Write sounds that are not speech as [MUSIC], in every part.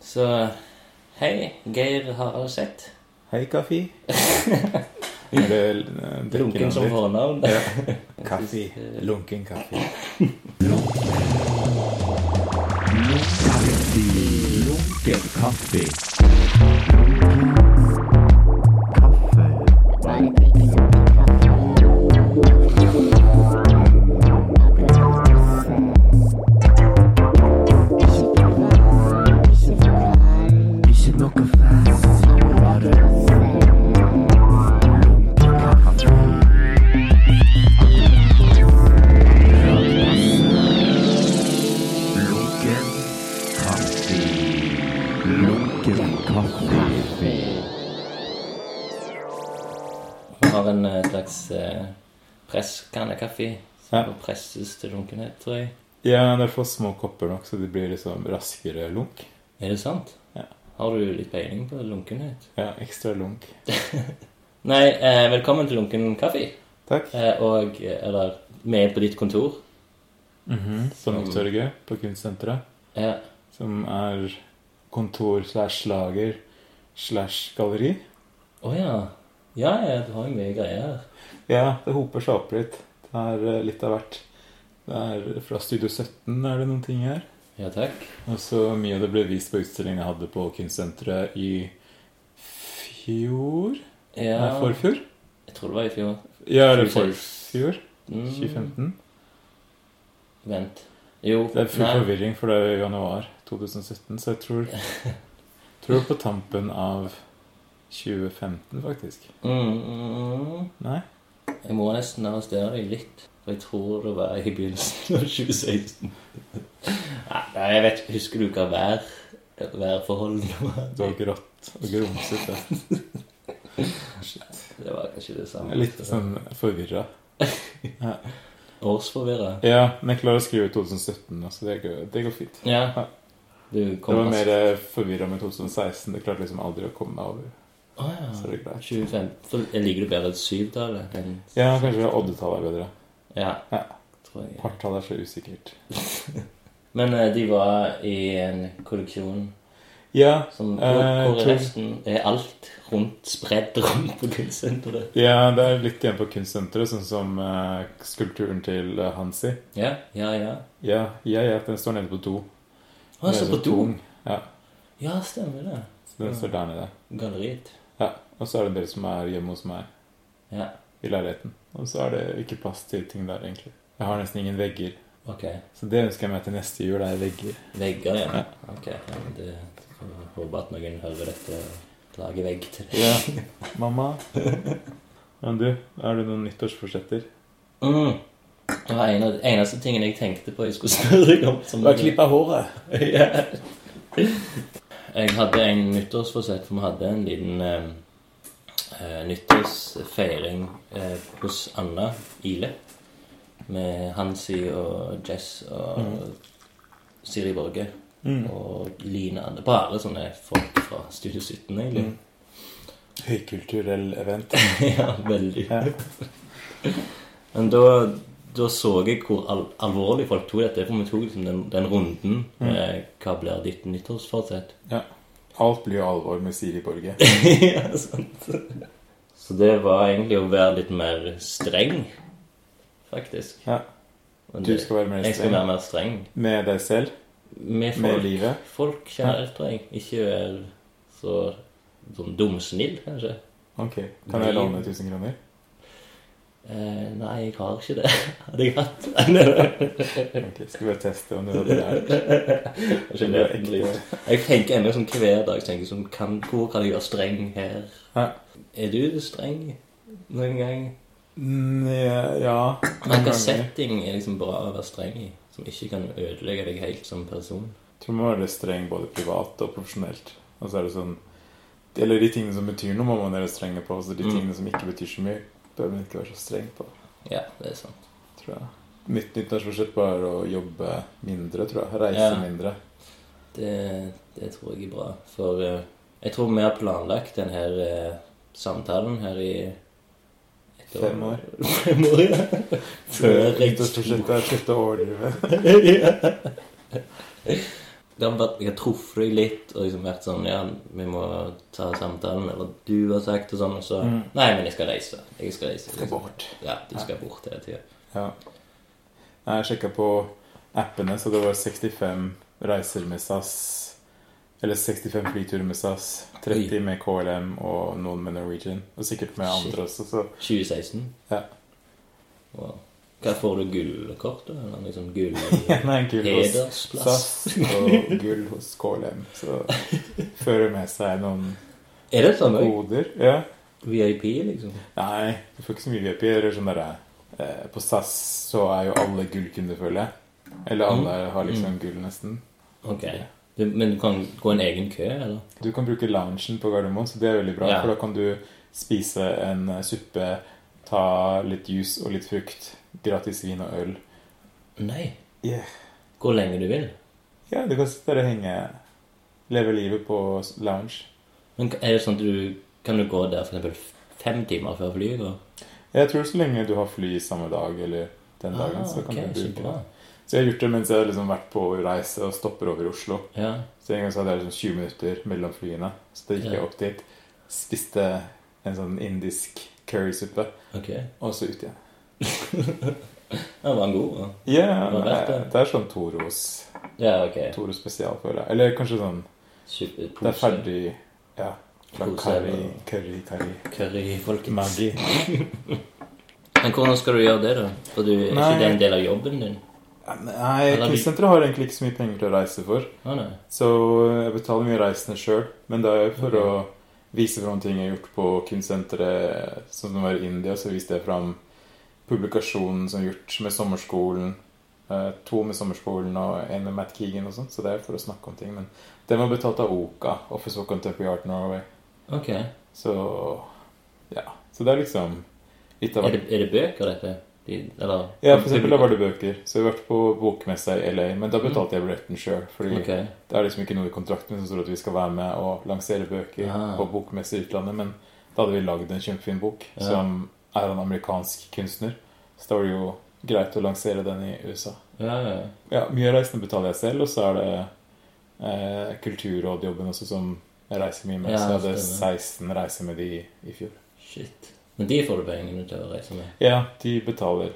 Så hei, Geir Harald [LAUGHS] Sett. Hei, [LAUGHS] Kaffi. Er det eh, dekkende Lunken som ditt? fornavn. [LAUGHS] Kaffi. Lunken kaffe. Vi har en eh, slags eh, presskannekaffe som Ja. presses til lunkenhet, tror jeg. Ja, det er for små kopper nok, så det blir liksom raskere lunk. Er det sant? Ja. Har du litt peiling på lunkenhet? Ja, ekstra lunk. Nei, eh, velkommen til Lunken kaffe. Takk. Eh, og eh, eller vi er på ditt kontor. Mhm. Som opptørget på kunstsenteret, Ja. som er kontor slash lager slash galleri. Å ja. Ja, ja, du har jo mye greier her. Ja, det hoper seg opp litt. Det er eh, litt av hvert. Det er Fra Studio 17 er det noen ting her. Ja, takk. Og så mye av det ble vist på utstillingen jeg hadde på kunstsenteret i fjor? Ja, Nei, forfjor? jeg tror det var i fjor. Ja, eller 26. forfjor? Mm, 2015? Vent. Jo, Det er full nei. forvirring, for det er jo januar 2017, så jeg tror, [LAUGHS] tror på tampen av 2015, faktisk. Mm, mm, mm. Nei? Jeg må nesten arrestere deg litt. For jeg tror det var i begynnelsen av [LAUGHS] 2016. Nei, nei, jeg vet ikke. Husker du hva vær, værforholdene [LAUGHS] var? Det var grått og grumsete. Det var kanskje det Jeg samme. er Litt sånn forvirra. Årsforvirra. Ja, men jeg klarer å skrive 2017 nå, så det går, det går fint. Ja. Du Det kom var raskt. mer forvirra med 2016. Det klarte liksom aldri å komme meg over. Å Så ja. det er greit. 25. For jeg liker det bedre et syvtallet enn Ja, kanskje oddetallet er bedre. ja, Ja. tror jeg. Partall er så usikkert. Men eh, de var i en kolleksjon Ja, som hvor, Eh, hvor tror- resten er alt rundt spredd rundt på kunstsenteret. ja, det er litt igjen på kunstsenteret, sånn som eh, skulpturen til eh, Hansi. Ja, ja, ja. Ja, ja, ja, den står nede på do. Å, Den så er på så do. tung. Ja, Ja, stemmer det. så den står der nede. Galleriet. Ja, Og så er det en del som er hjemme hos meg Ja, i leiligheten. Og så er det ikke plass til ting der, egentlig. Jeg har nesten ingen vegger. ok. Så det ønsker jeg meg til neste jul, er vegger. Vegger, ja. Ok, ja, men det får vi håpe at noen hører dette og lager vegg til det. [LAUGHS] Ja, mamma. Men du, har du noen nyttårsforsetter? Mm. Det var en av de eneste tingene jeg tenkte på jeg skulle [LAUGHS] spørre deg om. Som av håret. [LAUGHS] Ja. Jeg hadde en nyttårsforsett, for vi hadde en liten eh, eh, nyttårsfeiring eh, hos Anna Ile. Med Hansi og Jess og Siri Borge Mm. og Line Anne. Bare sånne folk fra Studio 17, egentlig. Mm. Høykulturell event. [LAUGHS] ja, veldig. Ja. Men da, da så jeg hvor al alvorlig folk tok dette. For vi tok liksom den, den runden Mm. med hva blir ditt nyttårsforsett. [LAUGHS] Alt blir jo alvor med Siri Borge. ja, sant. Så det var egentlig å være litt mer streng, faktisk. Ja. Men Du det- skal være mer jeg skal streng være mer streng. med deg selv, Med med folk, livet. folk generelt, tror jeg. Ikke være så sånn dumsnill, kanskje. Ok, Kan jeg låne 1000 kroner? Eh, nei, jeg har ikke det. [LAUGHS] Hadde jeg hatt det. Ok, Skal bare teste om du hadde [LAUGHS] lært. Jeg Det er ekte. Jeg tenker ennå sånn hver dag tenker jeg sånn, kan, Hvor kan jeg være streng her? Ja. Er du streng noen gang? Mm, Ja noen Hvilken ganger. setting er liksom bra å være streng i, som ikke kan ødelegge deg helt som person? Tror man må være streng både privat og profesjonelt. Og så er det sånn Eller de tingene som betyr noe, må man være strenge på. Så de Mm. tingene som ikke betyr så mye, bør man ikke være så streng på. Ja, det er sant. Tror jeg. Mitt nyttårsforsett var å jobbe mindre, tror jeg. Reise Ja. mindre. Det, det tror jeg er bra. For eh, jeg tror vi har planlagt denne her, eh, samtalen her i et Fem år. [LAUGHS] Fem år, ja. Før jeg Nyttårsforsettet er å slutte å overdrive. Ja. det har vært, jeg har truffet deg litt og liksom vært sånn Ja, vi må ta samtalen, eller du har sagt og sånn, og så Mm. Nei, men jeg skal reise. Jeg skal reise. Skal bort. Ja, de skal bort hele tida. Ja. Nei, Jeg sjekka på appene, så det var 65 reiser med SAS. Eller 65 flyturer med SAS, 30 med KLM og noen med Norwegian. Og sikkert med Shit. andre også, så [LAUGHS] 2016. Ja. Wow. Hva får du gullkort, da? Eller liksom gull [LAUGHS] Nei, en gull hos Hedersplass? SAS og gull hos KLM. [LAUGHS] Så fører med seg noen Er det sånn òg? koder. Ja. VIP, liksom? Nei, du får ikke så mye VIP. Eller sånn derre eh, På SAS så er jo alle gullkunder, føler jeg. Eller alle Mm. har liksom gull, nesten. Ok. Du, men du kan gå en egen kø, eller? Du kan bruke loungen på Gardermoen, så det er veldig bra. Ja. For da kan du spise en eh, suppe, ta litt juice og litt frukt, gratis vin og øl. Nei. Yeah. Hvor lenge du vil. Ja, du kan sitte der og henge Leve livet på lounge. Men er det sånn at du Kan du gå der for eksempel fem timer før flyet går? Jeg tror så lenge du har fly samme dag eller den dagen, Ah, så kan ok, du så bruke bra. det. Så jeg har gjort det mens jeg har liksom vært på reise og stopper over i Oslo. Ja. Så en gang så hadde jeg liksom 20 minutter mellom flyene. Så da gikk Ja. jeg opp dit, spiste en sånn indisk currysuppe, Ok. og så ut igjen. Ja, var han god? da? Ja, Det var verdt det. det er sånn Toros, Ja, ok. Toros spesial, føler jeg. Eller kanskje sånn Super, Det er ferdig Ja. Fra Pose curry, eller- curry, curry. Curry, folkens. Maggi. Men hvordan skal du gjøre det, da? For du, er Nei. ikke det en del av jobben din? Nei, Eller vi- Kristsenteret har egentlig ikke så mye penger til å reise for. Å, nei. Så jeg betaler mye reisende sjøl, men det er jo Mm. for å vise fram ting jeg har gjort på kunstsenteret som det var i India. Så viste jeg fram publikasjonen som er gjort med sommerskolen. eh, To med sommerskolen og en med Matt Keegan og sånn. Så det er for å snakke om ting. Men den var betalt av OKA, Office of Contemporary Art Norway. Ok. Er Så ja. Så det er liksom litt av det, er det bøker, dette? De, eller Ja, for eksempel da var det bøker. Så jeg har vært på bokmessa i LA, men da betalte jeg billetten sjøl. Fordi Ok. det er liksom ikke noe i kontrakten som står at vi skal være med og lansere bøker Ah. på bokmesse i utlandet, men da hadde vi lagd en kjempefin bok Ja. som er av en amerikansk kunstner. Så da var det jo greit å lansere den i USA. Ja, ja. ja. Ja, Mye av reisene betaler jeg selv, og så er det eh, Kulturrådjobben også som jeg reiser mye med. Ja, så jeg hadde stemmer. 16 reiser med de i fjor. Shit. Men de får du pengene til å reise med? Ja, de betaler.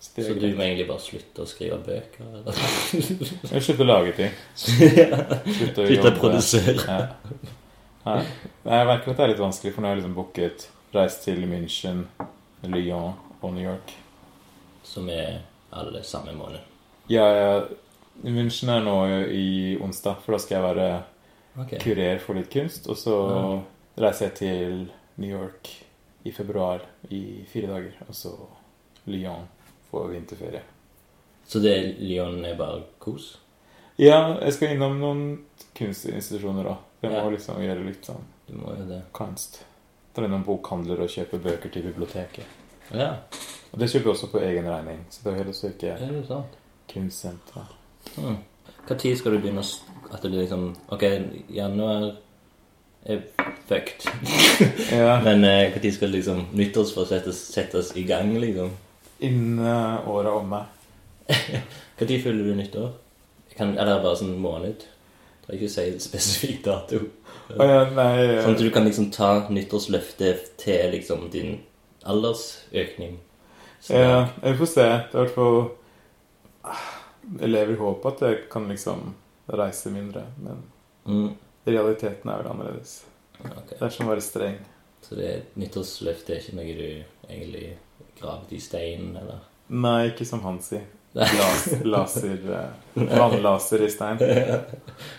Så det Så er du må greit. egentlig bare slutte å skrive bøker? [LAUGHS] Eller? Jeg slutter å lage ting. Slutter å Slutte å jobbe. produsere? Ja. Nei. Nei, jeg merker at det er litt vanskelig, for nå har jeg liksom booket reist til München, Lyon og New York. Som er alle samme måned. Ja, jeg- München er nå i onsdag, for da skal jeg være Ok. kurer for litt kunst. Og så reiser jeg til New York i februar i fire dager, og så Lyon for vinterferie. Så det Lyon er bare kos? Ja, jeg skal innom noen kunstinstitusjoner òg. Jeg må Ja. liksom gjøre litt sånn Du må jo det. kunst. Dra innom bokhandler og kjøpe bøker til biblioteket. Ja, Og det kjøper jeg også på egen regning, så det er heller ikke er det sant? kunstsenteret. Mm. Hva tid skal du begynne å s- At det blir liksom Ok, januar er fucked. Ja, Men eh, hva tid skal liksom nyttårsforsettet settes i gang, liksom? innen eh, året er omme. Hva tid fyller du nyttår? Jeg Kan, eller bare sånn måned? Jeg Trenger ikke si en spesifikk dato. Å ja, nei eh, Sånn at du kan liksom ta nyttårsløftet til liksom din aldersøkning. Så, ja, Vi får se. Det er i hvert fall Ah, Jeg lever i håp at jeg kan liksom reise mindre, men Mm, realiteten er vel annerledes. ok. Det er som å være streng. Så det nyttårsløftet er ikke noe du egentlig gravet i steinen, eller? Nei, ikke som han sier. Nei. Las, laser eh, Vannlaser i stein.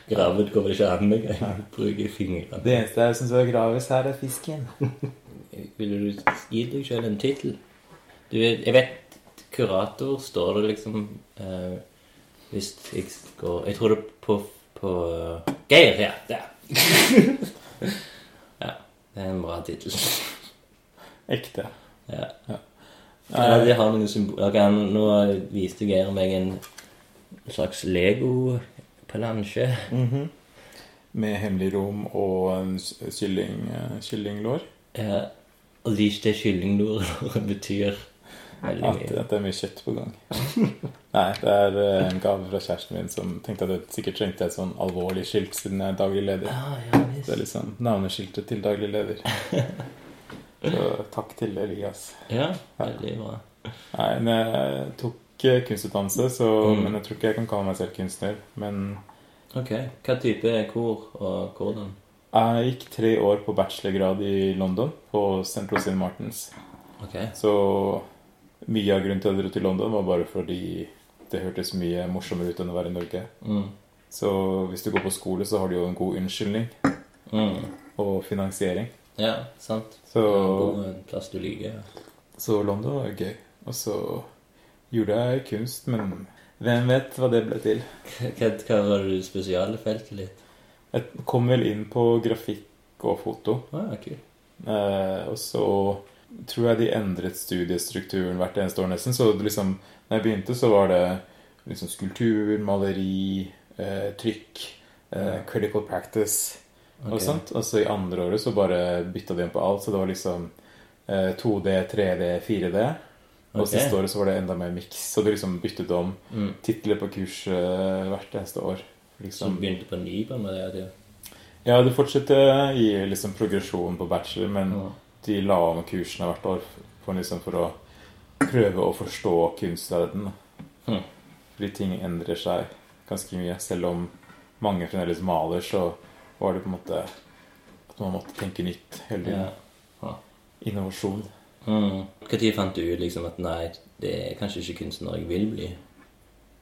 Gravet kommer det ikke an med engang. Bruker fingrene. Det eneste jeg syns er gravis her, er fisken. Ville du gi deg selv en tittel? Du, jeg vet kurator står det liksom eh, Hvis jeg går Jeg tror det er på, på eh, Geir, ja. Der. [LAUGHS] ja. Det er en bra tittel. Ekte. Ja. Ja, Nei, det har noen symbol... Ok, nå- nå viste Geir meg en slags Lego-plansje. mhm. Med hemmelig rom og en s- kylling, eh, kyllinglår. Eh, og de- det kyllinglorene [LAUGHS] betyr Veldig At, mye. at det er mye kjøtt på gang. [LAUGHS] Nei, det er eh, en gave fra kjæresten min som tenkte at jeg sikkert trengte et sånn alvorlig skilt siden jeg er daglig leder. Ja, Ah, ja Det er visst. liksom navneskiltet til daglig leder. [LAUGHS] Så takk til Elias. Ja, veldig bra. Nei, men jeg tok eh, kunstutdannelse, så, Mm. men jeg tror ikke jeg kan kalle meg selv kunstner. Men Ok. Hva type er kor, og hvordan? jeg gikk tre år på bachelorgrad i London, på St. St. Martins. Ok. Så mye av grunnen til at jeg dro til London var bare fordi det hørtes mye morsommere ut enn å være i Norge. Mm. Så hvis du går på skole, så har du jo en god unnskyldning Mm. og finansiering. Ja, sant. Så, Bo en plass du liker. så London var gøy. Og så gjorde jeg kunst, men hvem vet hva det ble til? Hva, hva var det du spesialfeltet litt? Jeg kom vel inn på grafikk og foto. Å ja, kult. Eh, og så tror jeg de endret studiestrukturen hvert eneste år nesten. Så det liksom, når jeg begynte, så var det liksom skulptur, maleri, eh, trykk, eh, critical practice og Ok. sånt. Og så i andre året så bare bytta de om på alt. Så det var liksom eh, 2D, 3D, 4D. Og Ok. siste året så var det enda mer miks. Så det liksom byttet om Mm. titler på kurs eh, hvert eneste år. Så Liksom. du begynte på ny på med det? Ja, det fortsatte i liksom progresjon på bachelor, men Ja. de la om kursene hvert år for, liksom for å prøve å forstå kunstverdenen. da. Hmm. Fordi ting endrer seg ganske mye. Selv om mange fremdeles maler, så var det på en måte at man måtte tenke nytt hele Ja. tiden. Innovasjon. Mm. Hva tid fant du ut liksom at nei, det er kanskje ikke kunstner jeg vil bli?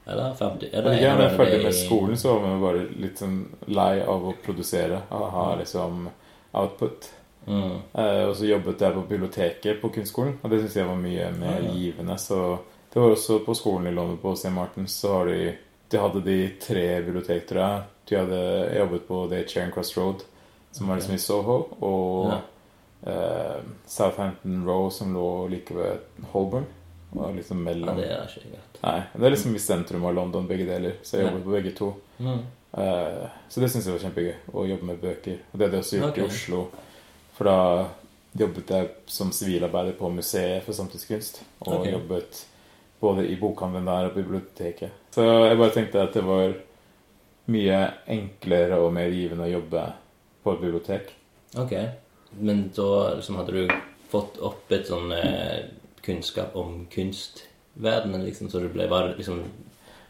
Eller fant du Jeg eller vet ikke, når jeg var er det ferdig i- med skolen, så var man bare litt sånn lei av å produsere. Av å ha liksom output. Mm. Eh, Og så jobbet jeg på biblioteket på kunstskolen, og det synes jeg var mye mer Ah, ja. givende. Så det var også på skolen i London, på St. Martins, så har de, de hadde de tre bibliotek, tror jeg. De hadde jeg jobbet på The Charing Cross Road, som var liksom i Soho, og eh, Southampton Row, som lå like ved Holborn. Og liksom Ja, mellom det er ikke jeg vet. Nei, det er liksom i sentrum av London, begge deler. Så jeg Ja. jobbet på begge to. Mm. Eh, Så det syns jeg var kjempegøy, å jobbe med bøker. Og det hadde jeg også gjort Ok. i Oslo. For da jobbet jeg som sivilarbeider på Museet for samtidskunst. Og Ok. jobbet både i bokhandelen der og på biblioteket. Så jeg bare tenkte at det var mye enklere og mer givende å jobbe på et bibliotek. Ok. Men da liksom, hadde du fått opp et sånn eh, kunnskap om kunstverdenen, liksom, så det ble bare liksom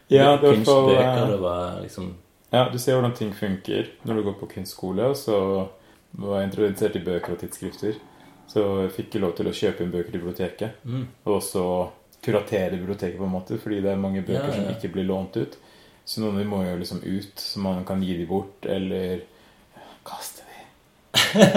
Ja, det var i hvert fall, eh, kunstbøker, det var liksom Ja, du ser hvordan ting funker når du går på kunstskole, og så var jeg introdusert i bøker og tidsskrifter. Så jeg fikk lov til å kjøpe inn bøker i biblioteket, Mm. og også kuratere biblioteket på en måte, fordi det er mange bøker Ja, ja. som ikke blir lånt ut. Så noen av dem må jo liksom ut, så man kan gi dem bort, eller kaste dem.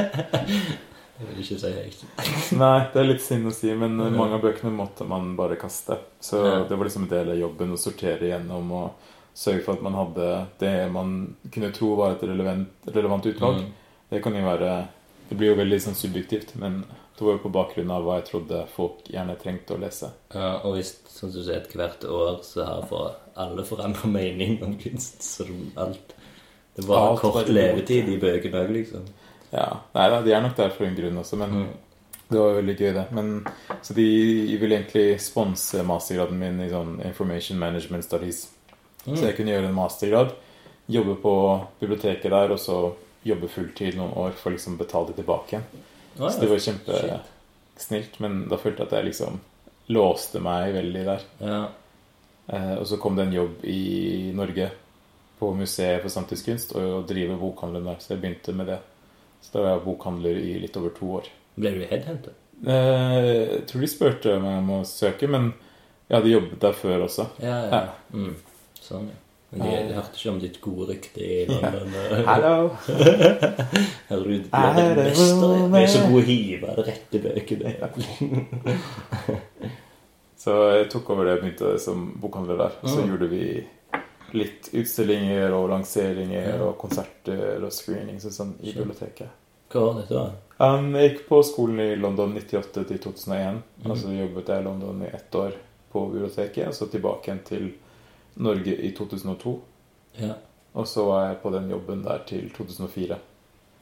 Jeg vil ikke si høyt. [LAUGHS] Nei, det er litt synd å si, men Ja. mange av bøkene måtte man bare kaste. Så Ja. det var liksom en del av jobben å sortere igjennom og sørge for at man hadde det man kunne tro var et relevant, relevant utvalg. Mm. Det kan jo være Det blir jo veldig sånn subjektivt, men det var jo på bakgrunn av hva jeg trodde folk gjerne trengte å lese. Ja, Eh, og hvis, som du sier, at hvert år så har for alle forandret mening om kunst, så det- alt Det er bare Alt bare kort blir borte. levetid i bøkene òg, liksom. Ja, Nei da, de er nok der for en grunn også, men Mm. det var jo veldig gøy, det. Men, så de ville egentlig sponse mastergraden min i sånn Information Management Studies. Mm. Så jeg kunne gjøre en mastergrad, jobbe på biblioteket der, og så jobbe fulltid noen år for liksom å betale det tilbake igjen. Å, Så det var Shit. kjempesnilt, men da følte jeg at jeg liksom låste meg veldig der. Ja. Eh, og så kom det en jobb i Norge på Museet for samtidskunst og å drive bokhandelen der, så jeg begynte med det. Så da var jeg bokhandler i litt over to år. Ble du headhuntet? Eh, jeg tror de spurte om jeg må søke, men jeg hadde jobbet der før også. Ja, ja. Ja. Mm. Sånn, ja. Men de, de hørte ikke om ditt gode rykte i London. [LAUGHS] og- Hallo! Hører du, du Er er det et mester. noe Du er så med- god å hive det rette bøkene. [LAUGHS] Så jeg tok over det og begynte som bokhandler der. Og så Mm. gjorde vi litt utstillinger og lanseringer Ja. og konserter og screenings og sånn i Skjønt. biblioteket. Hva var dette, da? Um, jeg gikk på skolen i London 98 til 2001. Mhm. Altså jobbet jeg i London i ett år på biblioteket, og så tilbake igjen til Norge i 2002. Ja. Og så var jeg på den jobben der til 2004.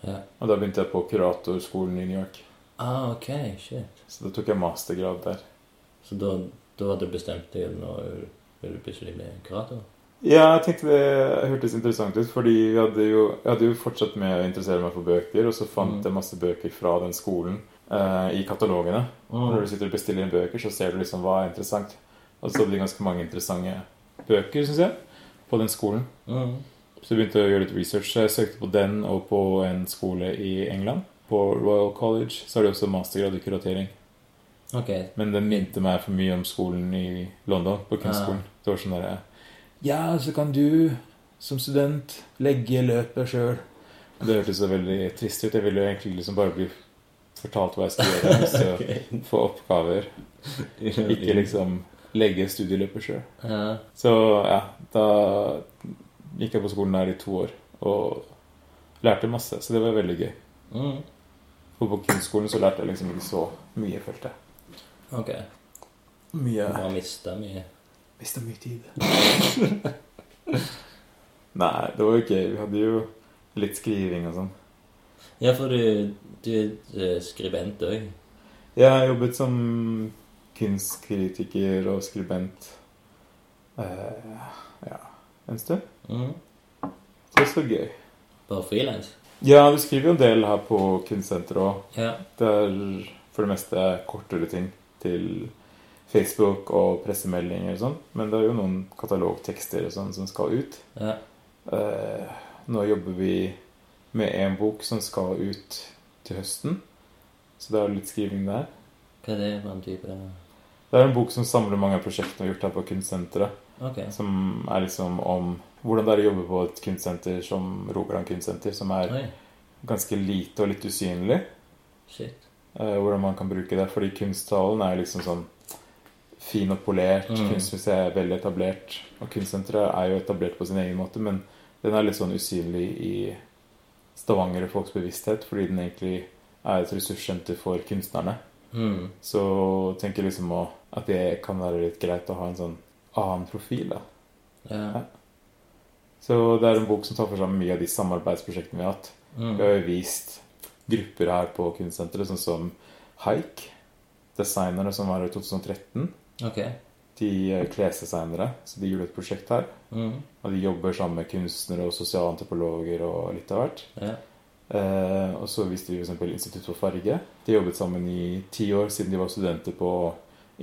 ja. Og da begynte jeg på kuratorskolen i New York. Ah, ok. Shit. Så da tok jeg mastergrad der. Så da, da hadde du bestemt deg, eller nå vil du plutselig bli kurator? Ja, jeg tenkte det hørtes interessant ut, fordi jeg hadde jo, jeg hadde jo fortsatt med å interessere meg for bøker, og så fant Mm. jeg masse bøker fra den skolen eh, i katalogene. Og Når du sitter og bestiller inn bøker, så ser du liksom hva er interessant. Og så hadde de ganske mange interessante bøker, syns jeg, på den skolen. Mm. Så jeg begynte å gjøre litt research. Så jeg søkte på den og på en skole i England. På Royal College så er det også mastergrad i kuratering. Ok. Men den minte meg for mye om skolen i London, på kunstskolen. Det var sånn derre Ja, så kan du som student legge løpet sjøl. Det hørtes så veldig trist ut. Jeg ville jo egentlig liksom bare bli fortalt hva jeg skulle gjøre. hvis jeg [LAUGHS] Få oppgaver. [LAUGHS] Ikke liksom legge studieløpet sjøl. Ja. Så ja, da gikk jeg på skolen der i to år og lærte masse. Så det var veldig gøy. Mm. For på kunstskolen så lærte jeg liksom ikke så mye, følte jeg. Ok. Du Mye har mista mye. Mista mye tid. Nei, det var jo gøy. Vi hadde jo litt skriving og sånn. Ja, for du, du er eh, skribent òg. Jeg har jobbet som kunstkritiker og skribent eh, ja, en stund. Mm. Så det var gøy. Bare frilans. Ja, du skriver jo en del her på Kunstsenteret òg. Ja. Det er for det meste kortere ting til Facebook og pressemeldinger og sånn. Men det er jo noen katalogtekster og sånn som skal ut. ja. Eh, nå jobber vi med en bok som skal ut til høsten. Så det er litt skriving der. Hva er det for en type Det er en bok som samler mange av prosjektene vi har gjort her på Kunstsenteret. Ok. Som er liksom om hvordan det er å jobbe på et kunstsenter som Rogaland kunstsenter, som er Oi. ganske lite og litt usynlig. Shit. Eh, hvordan man kan bruke det. Fordi kunsthallen er liksom sånn fin og polert. Mm. Kunstmuseet er veldig etablert. Og kunstsenteret er jo etablert på sin egen måte, men den er litt sånn usynlig i Stavanger og folks bevissthet, fordi den egentlig er et ressurssenter for kunstnerne. Mm. Så tenker jeg liksom å- at det kan være litt greit å ha en sånn annen profil, da. Ja. Så det er en bok som tar for seg mye av de samarbeidsprosjektene vi har hatt. Mm. Vi har jo vist grupper her på kunstsenteret, sånn som Haik. Designerne som var her i 2013. Ok. De er klesdesignere, så de gjorde et prosjekt her. Mm. Og de jobber sammen med kunstnere og sosialantropologer og litt av hvert. Ja. Eh, og så viste vi f.eks. Institutt for farge. De jobbet sammen i ti år siden de var studenter på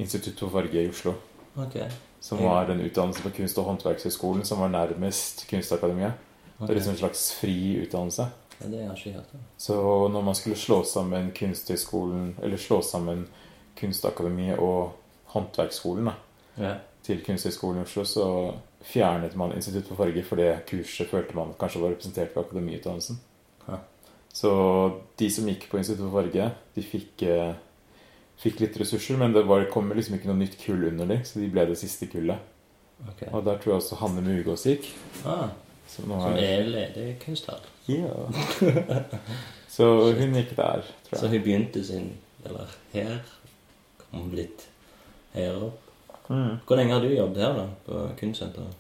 Institutt for farge i Oslo. Ok. Som var en utdannelse på Kunst- og håndverkshøgskolen som var nærmest Kunstakademiet. Ok. Det er liksom en slags fri utdannelse. Ja, det har jeg ikke hørt om. Så når man skulle slå sammen Kunsthøgskolen, eller slå sammen Kunstakademiet og Håndverksskolen da, Ja. til Kunsthøgskolen i Oslo, så fjernet man Institutt for farge, for det kurset følte man kanskje var representert ved akademiutdannelsen. Ja. Så de som gikk på Institutt for farge, de fikk, eh, fikk litt ressurser, men det var, kom liksom ikke noe nytt kull under dem, så de ble det siste kullet. Ok. Og der tror jeg også Hanne Mugås gikk. Ah, som nå som er- er ledig kunsthall. Ja. [LAUGHS] Så hun gikk der, tror jeg. Så hun begynte sin Eller her. Kom litt her opp. Mm. Hvor lenge har du jobbet her, da? På kunstsenteret?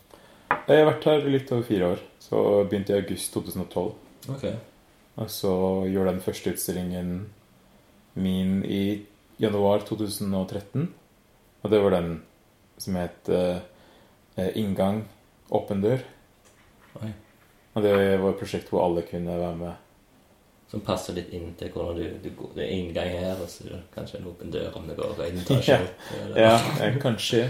Jeg har vært her litt over fire år. Så begynte jeg i august 2012. Ok. Og så gjorde jeg den første utstillingen min i januar 2013. Og det var den som het eh, eh, 'Inngang åpen dør'. Oi. Og det var et prosjekt hvor alle kunne være med. Som passer litt inn til hvordan du, du går- Det er inngang her, og så er det kanskje en åpen dør om det går en etasje Ja. opp. eller- [LAUGHS] Ja, eh, kanskje.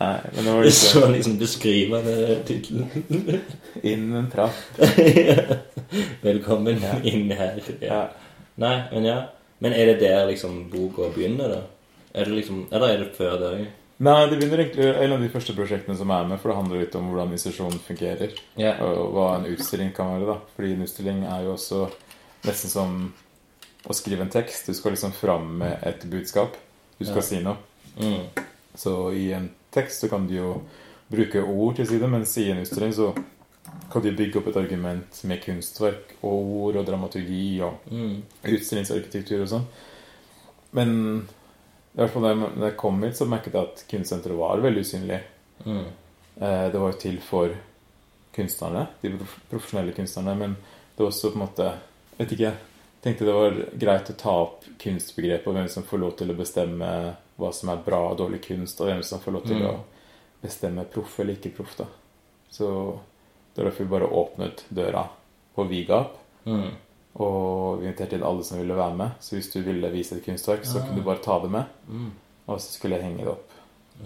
Nei, men det var Det er liksom så liksom beskrivende tittel. [LAUGHS] inn en trapp. [LAUGHS] Velkommen Ja. inn her. Ja. Ja. Nei, men ja. Men er det der liksom boka begynner, da? Er det liksom, eller er det før det òg? Nei, det begynner egentlig en av de første prosjektene som er med, for det handler litt om hvordan institusjonen fungerer. Ja. Og hva en utstilling kan være, da. Fordi en utstilling er jo også nesten som å skrive en tekst. Du skal liksom fram med et budskap. Du skal Ja. si noe. Mm. Så i en tekst så kan du jo bruke ord til side, mens i en utstilling så kan du bygge opp et argument med kunstverk og ord og dramaturgi og Mm. utstillingsarkitektur og sånn. Men i hvert fall da jeg da jeg kom hit, så merket jeg at kunstsenteret var veldig usynlig. Mm. Eh, Det var jo til for kunstnerne, de prof- profesjonelle kunstnerne, men det var også på en måte Vet ikke. jeg Tenkte det var greit å ta opp kunstbegrepet og hvem som får lov til å bestemme hva som er bra og dårlig kunst, og hvem som får lov til Mm. å bestemme proff eller ikke proff. da. Så det var derfor vi bare åpnet døra på vid gap, Mm. og vi inviterte inn alle som ville være med. Så hvis du ville vise et kunstverk, så Ah. kunne du bare ta det med, Mm. og så skulle jeg henge det opp.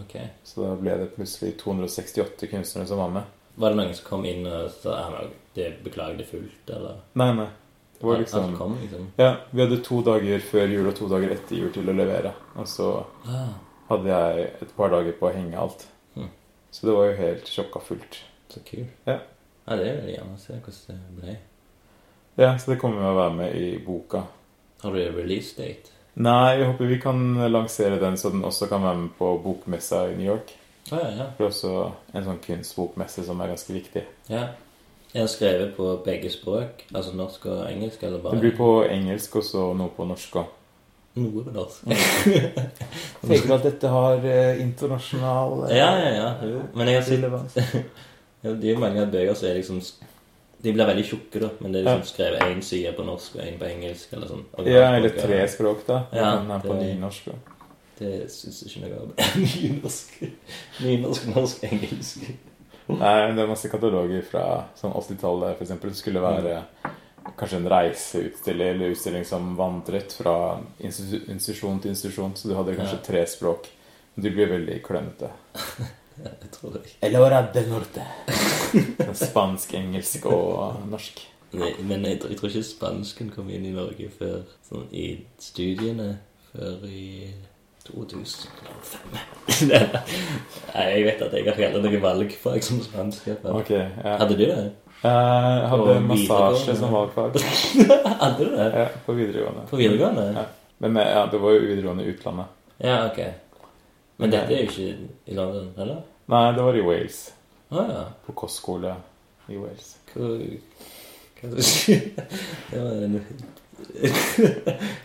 Ok. Så da ble det plutselig 268 kunstnere som var med. Var det noen som kom inn og sa ja, men det beklager det fullt, eller? Nei, nei. Det var Alt- liksom Alt kom, liksom. Ja, vi hadde to dager før jul og to dager etter jul til å levere. Og så Ah, hadde jeg et par dager på å henge alt. Mhm. Så det var jo helt sjokka fullt. så kult. Ja. ja, det vil jeg gjerne se hvordan det ble. Ja, så det kommer vi å være med i boka. Har du release date? Nei, jeg håper vi kan lansere den så den også kan være med på bokmessa i New York. Å ja, ja. Det er også en sånn kunstbokmesse som er ganske viktig. ja. Er den skrevet på begge språk? Altså norsk og engelsk, eller bare Den blir på engelsk og så noe på norsk òg. noe på norsk? Tenker du at dette har eh, internasjonal eh, Ja, ja, ja. Jo. Men jeg har sett relevans? ja, Det er jo mange av bøker som er liksom De blir veldig tjukke, da, men det er liksom skrevet én side på norsk og én på engelsk, eller sånn. Ja, eller tre språk, da. Ja, Ja, den er på det- nynorsk. da. Det syns jeg ikke noe om. [LAUGHS] Nynorsk, nynorsk, norsk, engelsk. Nei, men det er masse kataloger fra sånn 80-tallet, f.eks. Det skulle være kanskje en reiseutstilling eller utstilling som vandret fra institu- institusjon til institusjon, så du hadde kanskje Ja. tre språk. Men Du blir veldig klønete. Jeg tror det. Elora del [LAUGHS] norte. Sånn Spansk, engelsk og norsk. Nei, men jeg, tror- jeg tror ikke spansken kom inn i Norge før sånn, i studiene før i 2005. [LAUGHS] Nei, jeg vet at jeg har ikke hatt noe valgfag som spansk. i hvert fall. Ok. ja. Eh, Hadde du det? [LAUGHS] Jeg hadde Og massasje videregående. som valgfag Hadde du det? ja, på videregående. På videregående? Ja. Men eh, ja, det var jo videregående i utlandet. Ja, ok. Men dette er jo ikke i London, eller? Nei, det var i Wales. Å ja. På kostskole i Wales. Hva Hva [LAUGHS] skal du si? Det var en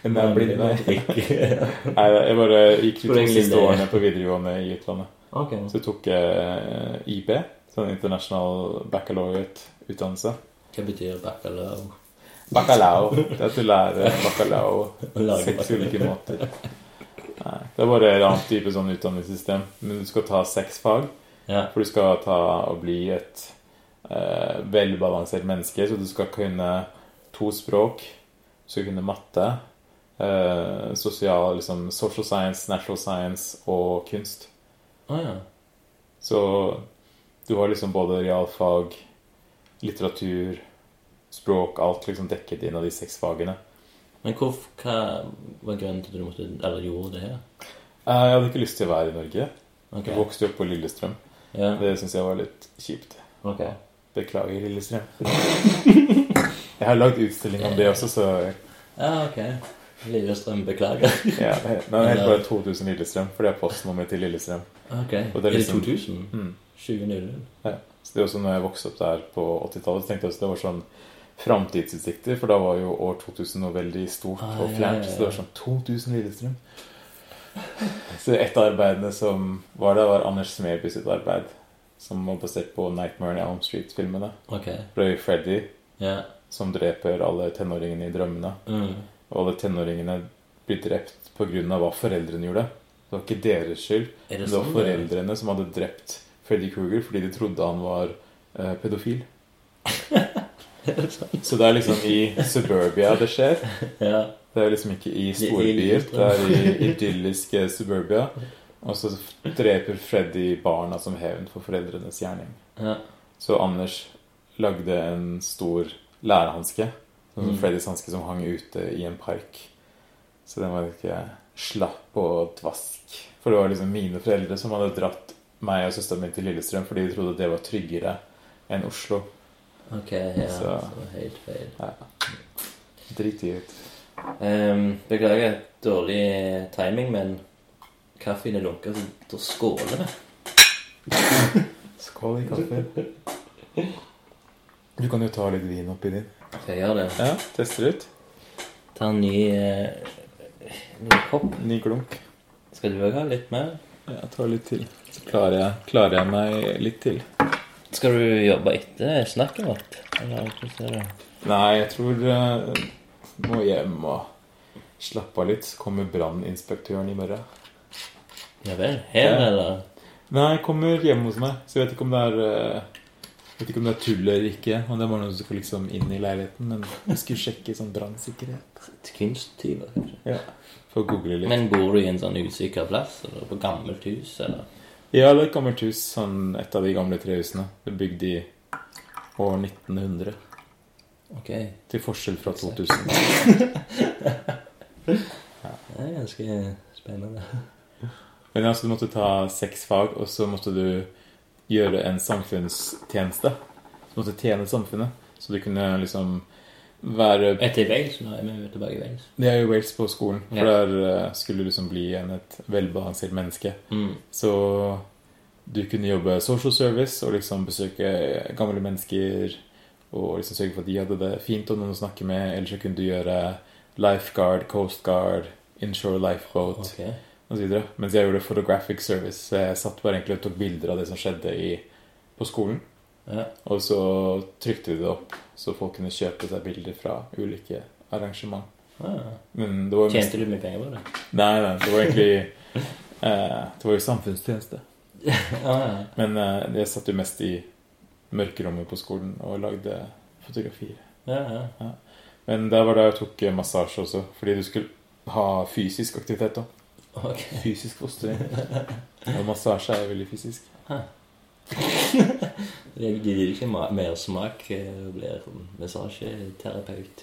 Men jeg blir nei. Ikke- Nei, jeg bare gikk de Tror to egentlig siste det- årene på videregående i utlandet. [LAUGHS] Ok. Så tok jeg IB, sånn International Baccalaureate-utdannelse. Hva betyr bacalao? [LAUGHS] Bacalao. Det er at du lærer bacalao Å lage seks bacalao. ulike måter. Nei, det er bare et annet type sånn utdanningssystem. Men du skal ta seks fag, Ja. for du skal ta og bli et eh, velbalansert menneske. Så du skal kunne to språk, du skal kunne matte, eh, sosial, liksom social science, natural science og kunst. Å ja. Så du har liksom både realfag, litteratur, språk, alt liksom dekket inn av de seks fagene. Men hvor, hva var grunnen til at du måtte, eller gjorde det her? Eh, Jeg hadde ikke lyst til å være i Norge. Ok. Jeg vokste jo opp på Lillestrøm. Ja, Det syns jeg var litt kjipt. ok. Beklager, Lillestrøm. [LAUGHS] Jeg har lagd utstilling om det også, så Ja, Ah, ok. Lillestrøm, beklager. ja, Nå er det bare 2000 Lillestrøm, for det er postnummeret til Lillestrøm. Ok. Er Og det er det liksom- 2000? Mm. 2000? Så det er også når jeg vokste opp der på 80-tallet, så tenkte jeg også det var sånn framtidsutsikter, for da var jo år 2000 noe veldig stort Ah, og ja, fjernt. ja, Så det var ja. sånn 2000 Lillestrøm. [LAUGHS] Så et av arbeidene som var der, var Anders Smeby sitt arbeid. Som var basert på Nightmare on Elm Street-filmene. Ok. Røy Freddy, Ja. som dreper alle tenåringene i drømmene. Mm. Og alle tenåringene blir drept pga. hva foreldrene gjorde. Det var ikke deres skyld. Er Det det var sånn? det? foreldrene som hadde drept Freddy Kruger fordi de trodde han var eh, pedofil. [LAUGHS] Så det er liksom i suburbia det skjer. sånn? Ja. Det er liksom ikke i Det er storbyer. illustrert. Det er i idylliske suburbia. Og så dreper Freddy barna som hevn for foreldrenes gjerning. Ja. Så Anders lagde en stor lærhanske. Sånn som Mm. Freddys hanske som hang ute i en park. Så den var ikke slapp og dvask. For det var liksom mine foreldre som hadde dratt meg og søsteren min til Lillestrøm fordi de trodde det var tryggere enn Oslo. Ok, ja. [LAUGHS] Så- Så det var helt feil. Drit i ut. Ehm, beklager dårlig timing, men kaffen er lunket, så da skåler vi. Skål i kaffe. Du kan jo ta litt vin oppi din. Skal jeg gjøre det? Ja, tester ut. Ta en ny, eh, ny kopp. Ny klunk. Skal du også ha litt mer? Ja, ta litt til. Så klarer jeg, klarer jeg meg litt til. Skal du jobbe etter snakket vårt? Eller hvordan er det? Nei, jeg tror eh, må hjem og slappe av litt. Så kommer branninspektøren i morgen. Ja vel. Her, Ja. eller? Nei, jeg kommer hjemme hos meg, så jeg vet ikke om det er eh, Vet ikke om det er tull eller ikke. Om det er bare noen som skal liksom inn i leiligheten. Men jeg skulle sjekke sånn brannsikkerhet. Kunsttyver, kanskje. For å google litt. Men bor du i en sånn usikker plass? Eller på gammelt hus? Eller? Ja, det er et gammelt hus. Sånn et av de gamle trehusene. Det er Bygd i år 1900. Ok, det Til forskjell fra 2000. er ganske spennende. Men altså, du måtte ta seks fag, og så måtte du gjøre en samfunnstjeneste. Du måtte tjene samfunnet. Så du kunne liksom være Etter Wales, nå er vi jo tilbake i Wales. Det er jo Wales på skolen, for Ja. der eh, skulle du liksom bli en et velbalansert menneske. Mm. Så du kunne jobbe social service og liksom besøke gamle mennesker og liksom sørge for at de hadde det fint og noen å snakke med. Eller så kunne du gjøre lifeguard, coastguard, inshore lifeboat Ok. og så videre. Mens jeg gjorde photographic service. Så jeg satt bare egentlig og tok bilder av det som skjedde i, på skolen. Ja. Og så trykte vi det opp, så folk kunne kjøpe seg bilder fra ulike arrangement. Ah. Men det var jo mest Tjente du mye penger på det? Nei, nei, det var egentlig eh, Det var jo samfunnstjeneste. [LAUGHS] Ah, Men eh, jeg satt jo mest i mørkerommet på skolen og lagde fotografier. ja, ja. Men der var det jeg tok eh, massasje også, fordi du skulle ha fysisk aktivitet òg. Ok. Fysisk fostring. [LAUGHS] Og massasje er veldig fysisk. Det det gir ikke ma- mer smak eh, å bli massasjeterapeut.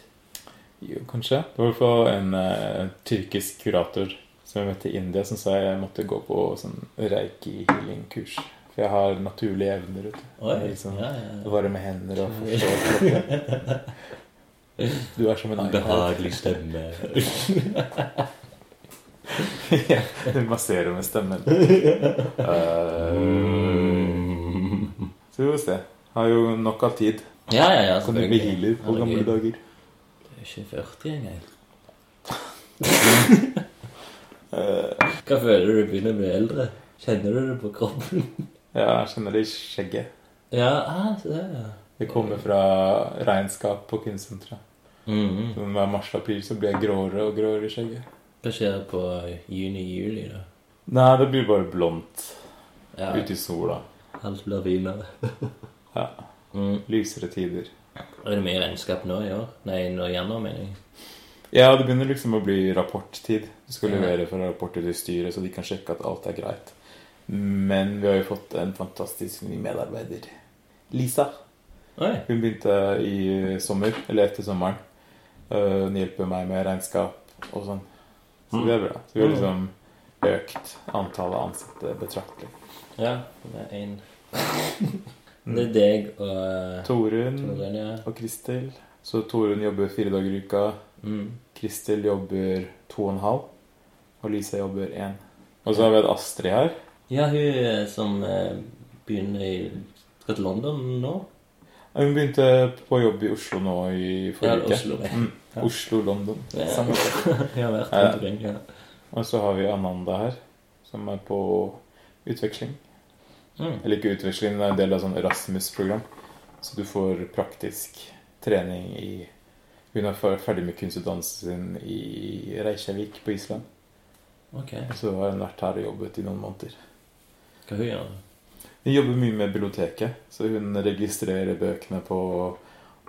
Jo, kanskje. Det var i hvert fall en eh, tyrkisk kurator som jeg møtte i India, som sa jeg måtte gå på sånn reiki-healing-kurs. For jeg har naturlige evner. Vet du. Oi, Liksom. ja, Det ja. var det med hender og [LAUGHS] forstå Du er som en iPad. Behagelig stemme. Ja, [LAUGHS] Du masserer med stemmen. Eh, Mm. så vi får se. Har jo nok av tid. Ja, ja, ja. Kan du bli healer på Herregud. gamle dager? Det er ikke 40 engang. Eh, Hva føler du du begynner å bli eldre? Kjenner du det på kroppen? ja, jeg kjenner det i skjegget. Ja, ah, se der, ja. Det kommer fra regnskap på kunstsenteret. Mhm. Så Hver mars-april så blir jeg gråere og gråere i skjegget. Hva skjer på juni-juli, da? Nei, det blir bare blondt Ja, ute i sola. Alt blir finere. Ja. Mm. Lysere tider. Er det mye regnskap nå i år? Nei, nå i januar, mener jeg. Ja, det begynner liksom å bli rapporttid. Du skal Ja. levere for rapporter til styret, så de kan sjekke at alt er greit. Men vi har jo fått en fantastisk ny medarbeider. Lisa. Oi. Hun begynte i sommer, eller etter sommeren. Øh, Hun hjelper meg med regnskap og sånn. Så det er bra. Så vi har liksom økt antallet ansatte betraktelig. Ja, det er én. Det er deg og Torunn Torunn, ja. og Kristel. Så Torunn jobber fire dager i uka. Mm. Kristel jobber to og en halv, og Lisa jobber én. Og så har vi hatt Astrid her. Ja, hun eh, som eh, begynner i Skal til London nå? Hun begynte på jobb i Oslo nå i Ja, forrige uke. Oslo. ja. Mm. Oslo, London. Ja. Samme sted. [LAUGHS] Hun har vært rundt omkring, ja. Og så har vi Ananda her, som er på utveksling. Mm. Eller ikke utveksling, men det er en del av sånn Erasmus-program. Så du får praktisk trening i Hun er fer- ferdig med kunstutdannelsen sin i Reykjavik på Island. Ok. Og så har hun vært her og jobbet i noen måneder. Hva hun gjør hun? Hun jobber mye med biblioteket, så hun registrerer bøkene på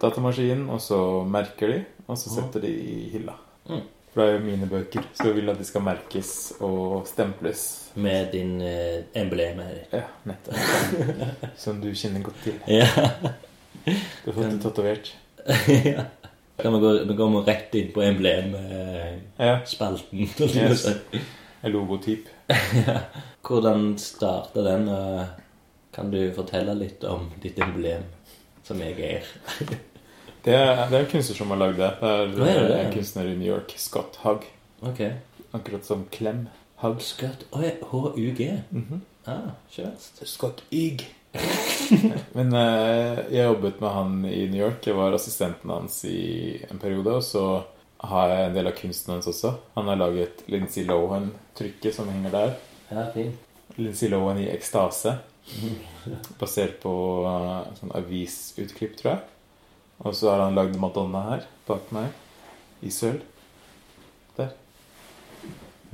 datamaskinen, og så merker de, og så setter de i hylla. Mm. For det er jo mine bøker, så jeg vil at de skal merkes og stemples. Med din eh, emblem her. Ja, nettopp. Som du kjenner godt til. Ja. [LAUGHS] Du har fått det tatovert. ja. Kan vi, gå, vi kommer rett inn på emblemspalten. Ja, [LAUGHS] Eh, Yes. yes. en logotyp. Hvordan starta den? og Kan du fortelle litt om ditt emblem, som jeg er? Det er, det er en kunstner som har lagd det. Det er, Hva er det? en kunstner i New York, Scott Hugg. Ok. Akkurat som Klem Hugg. Skatt Oi, HUG. Mhm. Ah, kjørst. Scott Ygg. [LAUGHS] Men eh, jeg jobbet med han i New York. Jeg var assistenten hans i en periode. Og så har jeg en del av kunsten hans også. Han har laget Lindsay Lohan-trykket som henger der. Ja, fint. Lindsay Lohan i [LAUGHS] ekstase. Basert på eh, sånn avisutklipp, tror jeg. Og så har han lagd Madonna her, bak meg. I sølv. Der.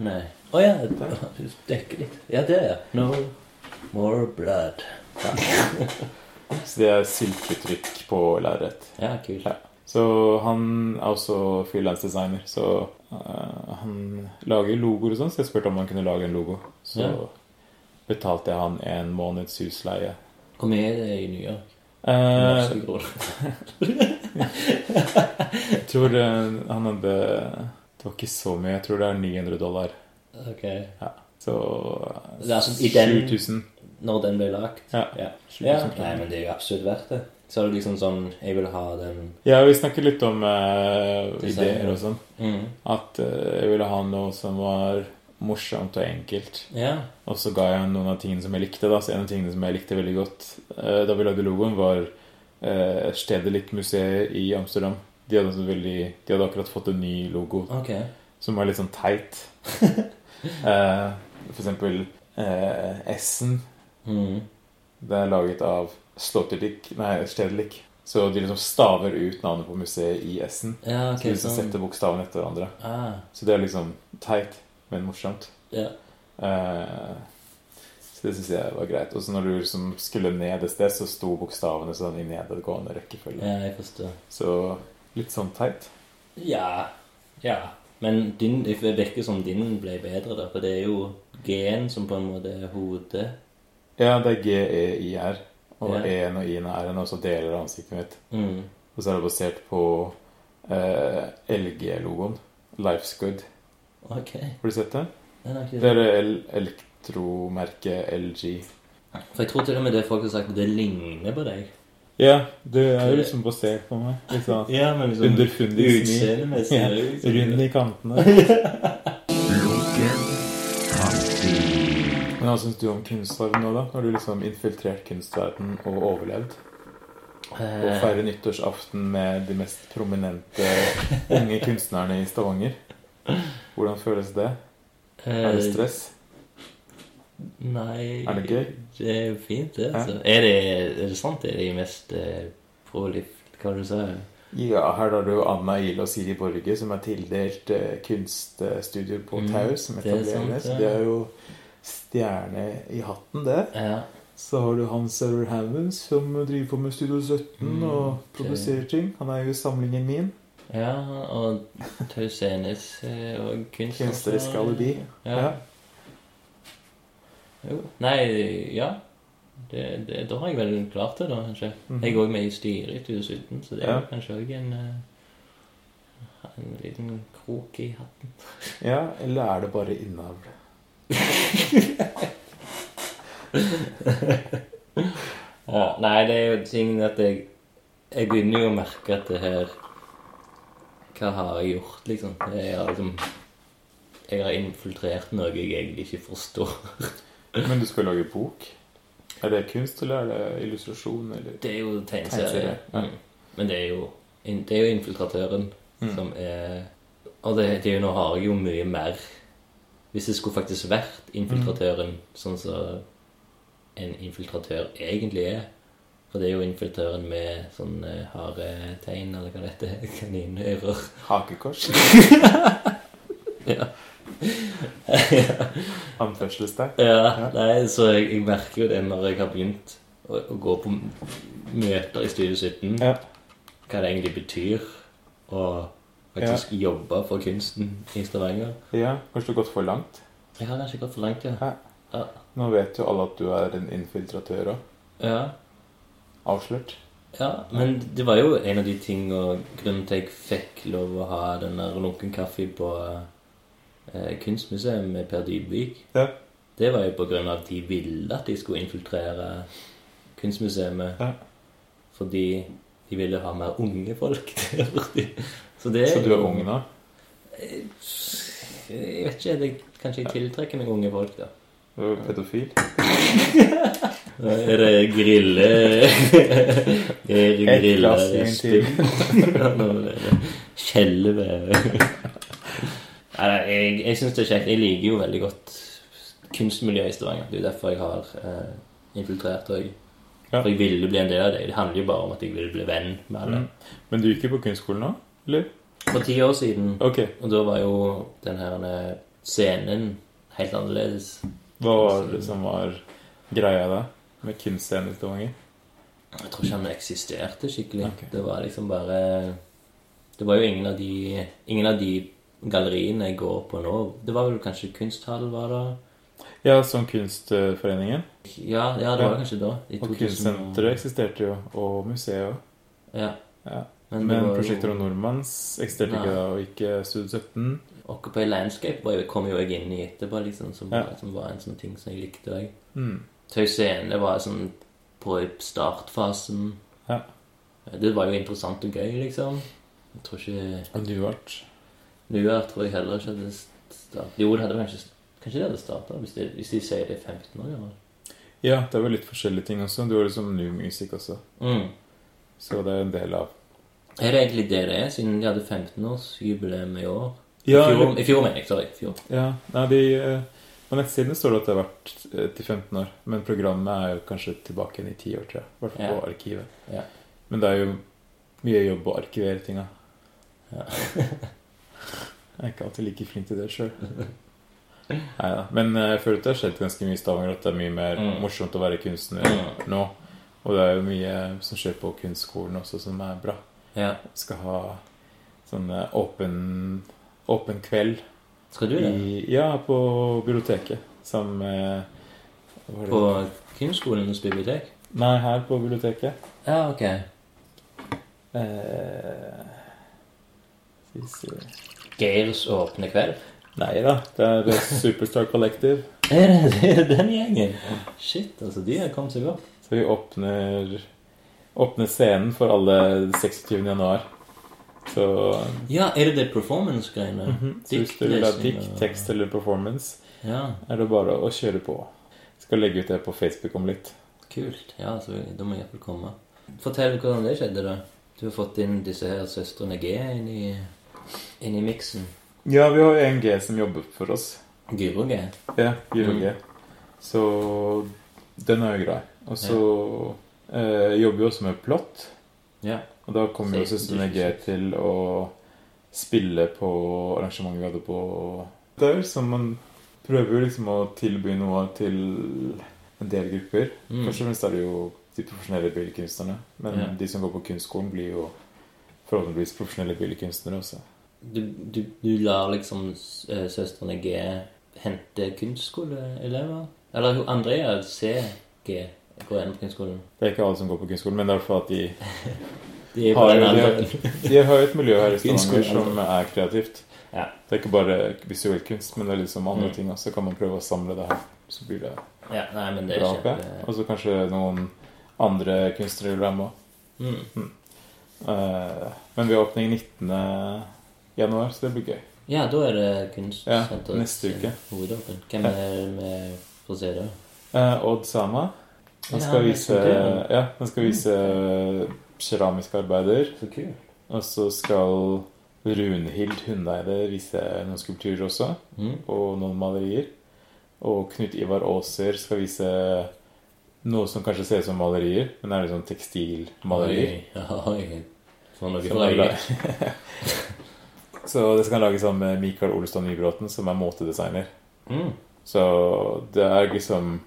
Nei. Å ja, [LAUGHS] det dekker litt. Ja, det er No more blood. Så det er silketrykk på lerret. Ja, kult. Så han er også frilansdesigner, så eh, han lager logoer og sånn, så jeg spurte om han kunne lage en logo. Så Ja. betalte betalte jeg han en måneds husleie. Hvor mye er det i New York? Eh, Norske kroner. jeg tror eh, han hadde Det var ikke så mye, jeg tror det er 900 dollar. Ok. Så Det er altså i den- 7000. Når den ble lagt? Ja. ja. 7000 ja. kroner. Nei, men det er jo absolutt verdt det. Så er det liksom sånn Jeg vil ha den Ja, vi snakket litt om eh, Design, ideer ja. og sånn. Mhm. At eh, jeg ville ha noe som var morsomt og enkelt. Ja. Og så ga jeg han noen av tingene som jeg likte. Da. Så en av tingene som jeg likte veldig godt eh, da vi lagde logoen, var eh, Stedelijk-museet i Amsterdam. De hadde, altså veldig, de hadde akkurat fått en ny logo Ok. som var litt sånn teit. Eh, for eksempel eh, S-en. Mhm. Det er laget av Sloterdijk Nei, Stedelijk. Så de liksom staver ut navnet på museet i S-en. Ja, Så de ok, liksom sånn. setter bokstavene etter hverandre. Ah, Så det er liksom teit, men morsomt. ja. Eh, så det syns jeg var greit. Og så når du liksom skulle ned et sted, så sto bokstavene sånn i nedadgående rekkefølge. ja, jeg forstår. Så litt sånn teit. Ja. Ja. Men din, det virker som din ble bedre, da. For det er jo G-en som på en måte er hodet. Ja, det er G-E-I-R. Og Ja. E-en og I-en og R-en er også deler av ansiktet mitt. Mhm. Og så er det basert på eh, LG-logoen. Life's Good. Ok. Har du sett det? Den er ikke Det er el- elektromerket LG. For jeg tror til og med det folk har sagt, at det ligner på deg. Ja, du er jo liksom basert på meg. Litt sånn Ja, men liksom underfundig smi. Utseendemessig. Ja, er det jo liksom- Rund i kantene. Lunken kaffe. Men hva syns du om kunstverden nå, da? Har du liksom infiltrert kunstverden og overlevd? Og Eh, feire nyttårsaften med de mest prominente unge kunstnerne i Stavanger? Hvordan føles det? eh, Er det stress? Nei Er det gøy? Det er jo fint, det. Ja. Altså. Er, det er det sant? Er det de mest eh, prolift Hva var det du sa Ja, her har du Anna Ihl og Siri Borge, som er tildelt eh, kunststudio på Mm, Tau, som det er sant, etableres. ja. De er jo stjerne i hatten, det. Ja. Så har du Hans Server Hammonds, som driver på med Studio 17 Mm, og det- produserer ting. Han er jo i samlingen min. ja, og Tausenes eh, og kunst Kunstnerisk alibi. Ja. Ja. Jo. Nei, ja. Det, det, da har jeg vel klart det, da, kanskje. Mhm. Jeg er òg med i styret i 2017, så det er Ja. jo kanskje òg en eh, en liten krok i hatten. Ja, eller er det bare innavl? Ja, nei, det er jo tingen at jeg Jeg begynner jo å merke at det her Hva har jeg gjort, liksom? Jeg har liksom Jeg har infiltrert noe jeg egentlig ikke forstår. Men du skal lage bok? Er det kunst, eller er det illustrasjon, eller Det er jo tegneserie. Tegneserie, ja. Mm. Men det er jo Det er jo infiltratøren Mm. som er Og det, det er jo, nå har jeg jo mye mer Hvis det skulle faktisk vært Mm. infiltratøren sånn som en infiltratør egentlig er For det er jo infiltratøren med sånn eh, harde tegn, eller hva det heter. [LAUGHS] Kaninører. [LAUGHS] hakekors? [LAUGHS] Ja. Anførselstegn? Ja, nei, så jeg, jeg merker jo det når jeg har begynt å, å gå på m- møter i Studio 17, Ja. hva det egentlig betyr å faktisk jobbe for kunsten i Stavanger. Ja, kanskje du har gått for langt? Jeg har kanskje gått for langt, ja. Nå vet jo alle at du er en infiltratør òg. ja. Avslørt. Ja, men det var jo en av de ting og grunnen til jeg fikk lov å ha den der lunken kaffe på eh, kunstmuseet med Per Dybvik. Ja. Det var jo på grunn av at de ville at de skulle infiltrere kunstmuseet. Ja. Fordi de ville ha mer unge folk [LAUGHS] der borti. Så, det, Så du er ung nå? Jeg vet ikke. Det, kanskje jeg tiltrekker meg unge folk, da. Du er jo pedofil? Er det grille Er det Ett grille glass vin resten? til. Ja, nå er det Skjelve Nei, nei, jeg, jeg syns det er kjekt. Jeg liker jo veldig godt kunstmiljøet i Stavanger. Det er jo derfor jeg har eh, infiltrert òg. Ja. For jeg ville bli en del av det. Det handler jo bare om at jeg ville bli venn med alle. Mm. Men du gikk jo på kunstskolen nå? For ti år siden, Ok. og da var jo den her eh, scenen helt annerledes. Hva var det som var greia da? Med kunstscenen i Stavanger? Jeg tror ikke han eksisterte skikkelig. Ok. Det var liksom bare Det var jo ingen av de Ingen av de galleriene jeg går på nå. Det var vel kanskje Kunsthallen var da? Ja, som Kunstforeningen. Ja, ja det var Ja. kanskje da. I Og 2000 Kunstsenteret eksisterte jo. Og museet òg. Ja. Ja. Men, det Men var Prosjekter jo, om Nordmanns eksisterte Nei. ikke da, og ikke Studio 17. Occupy Landscape var jo, kom jo jeg inn i etterpå, liksom, som, Ja. var, som var en sånn ting som jeg likte. Jeg. Mm. Tøy Scene var sånn på startfasen. Ja. Det var jo interessant og gøy, liksom. Jeg tror ikke Og du ble Nuer tror jeg heller ikke hadde startet Jo, det hadde kanskje Kanskje det hadde starta, hvis, de- hvis de sier det er 15 år gammel. Ja, det var litt forskjellige ting også. Du var liksom new music også. Mm. Så det er en del av Er det egentlig det det er, siden de hadde 15-årsjubileum i år? Ja, I fjor, eller- i fjor mener jeg. Sorry. i Fjor. ja nei, de, eh, På nettsidene står det at det har vært eh, til 15 år. Men programmet er jo kanskje tilbake igjen i 10 år, tror jeg. I hvert fall Ja. på arkivet. Ja. Men det er jo mye jobb å arkivere tinga. [LAUGHS] Ja. Jeg er ikke alltid like flink til det sjøl. Nei da. Men eh, jeg føler at det har skjedd ganske mye i Stavanger. At det er mye mer Mm. morsomt å være kunstner Mm. nå. Og det er jo mye som skjer på kunstskolen også, som er bra. ja. skal ha sånn eh, åpen, åpen kveld Skal du det? i, ja, på biblioteket. Sammen med hva var det? På kunstskolens bibliotek? Nei, her på biblioteket. Ja, ok. Eh, skal vi se. Geirs åpne kveld? Nei da, det er eh, Superstar Collective. [LAUGHS] Er det, det er den gjengen? Shit, altså. De har kommet seg opp. Så vi åpner, åpner scenen for alle 26. januar. Så, eh, Ja, er det det performance-greiene? så hvis du vil ha Diktlesing dikt, Mhm. og- tekst eller performance, Ja, er det bare å kjøre på. Skal legge ut det på Facebook om litt. kult. Ja, altså, da må jeg iallfall komme. Fortell hvordan det skjedde, da. Du har fått inn disse her søstrene G inn i, inn i miksen. Ja, vi har jo en G som jobber for oss. Gyro G. Ja, Gyro G. Så den er jo grei. Og så eh, jobber vi også med plott. Ja. Og da kom jo Så- søstrene G til å spille på arrangementet vi hadde på Det er jo som man prøver jo liksom å tilby noe til en del grupper. Mm. Først og fremst er det jo de profesjonelle billedkunstnerne. Men Ja. de som går på kunstskolen, blir jo forhåpentligvis profesjonelle billedkunstnere også. Du, du, du lar liksom s- eh, søstrene G hente kunstskoleelever? Eller hun Andrea C. G. går inn på kunstskolen. Det er ikke alle som går på kunstskolen, men det er i hvert fall at de De er på Har den jo alderen. De har jo et miljø her i Stavanger Kunstskolen. som er kreativt. Ja. Det er ikke bare visuell kunst, men det er liksom andre Mm. ting også. Kan man prøve å samle det her, så blir det Ja, nei, men det er bra. håper kjempe... jeg. Og så kanskje noen andre kunstnere vil være med. Mm. Eh, Men vi har åpning 19. januar, så det blir gøy. Ja, da er det Ja, kunstsenteret neste uke. hovedåpen. Hvem er det vi får se da? Eh, Odd Sama. Han Ja, skal jeg vise, så det. ja, han skal vise keramiske arbeider. Så kult. Og så skal Runhild Hundeide vise noen skulpturer også. Mm. og noen malerier. Og Knut Ivar Aaser skal vise noe som kanskje ser ut som malerier, men det er liksom tekstilmalerier. Oi, oi. Får noe Som fra er øyet. la- [LAUGHS] Så det skal han lage sammen med Mikael Olstad Nybråten, som er måtedesigner. Mm. Så det er liksom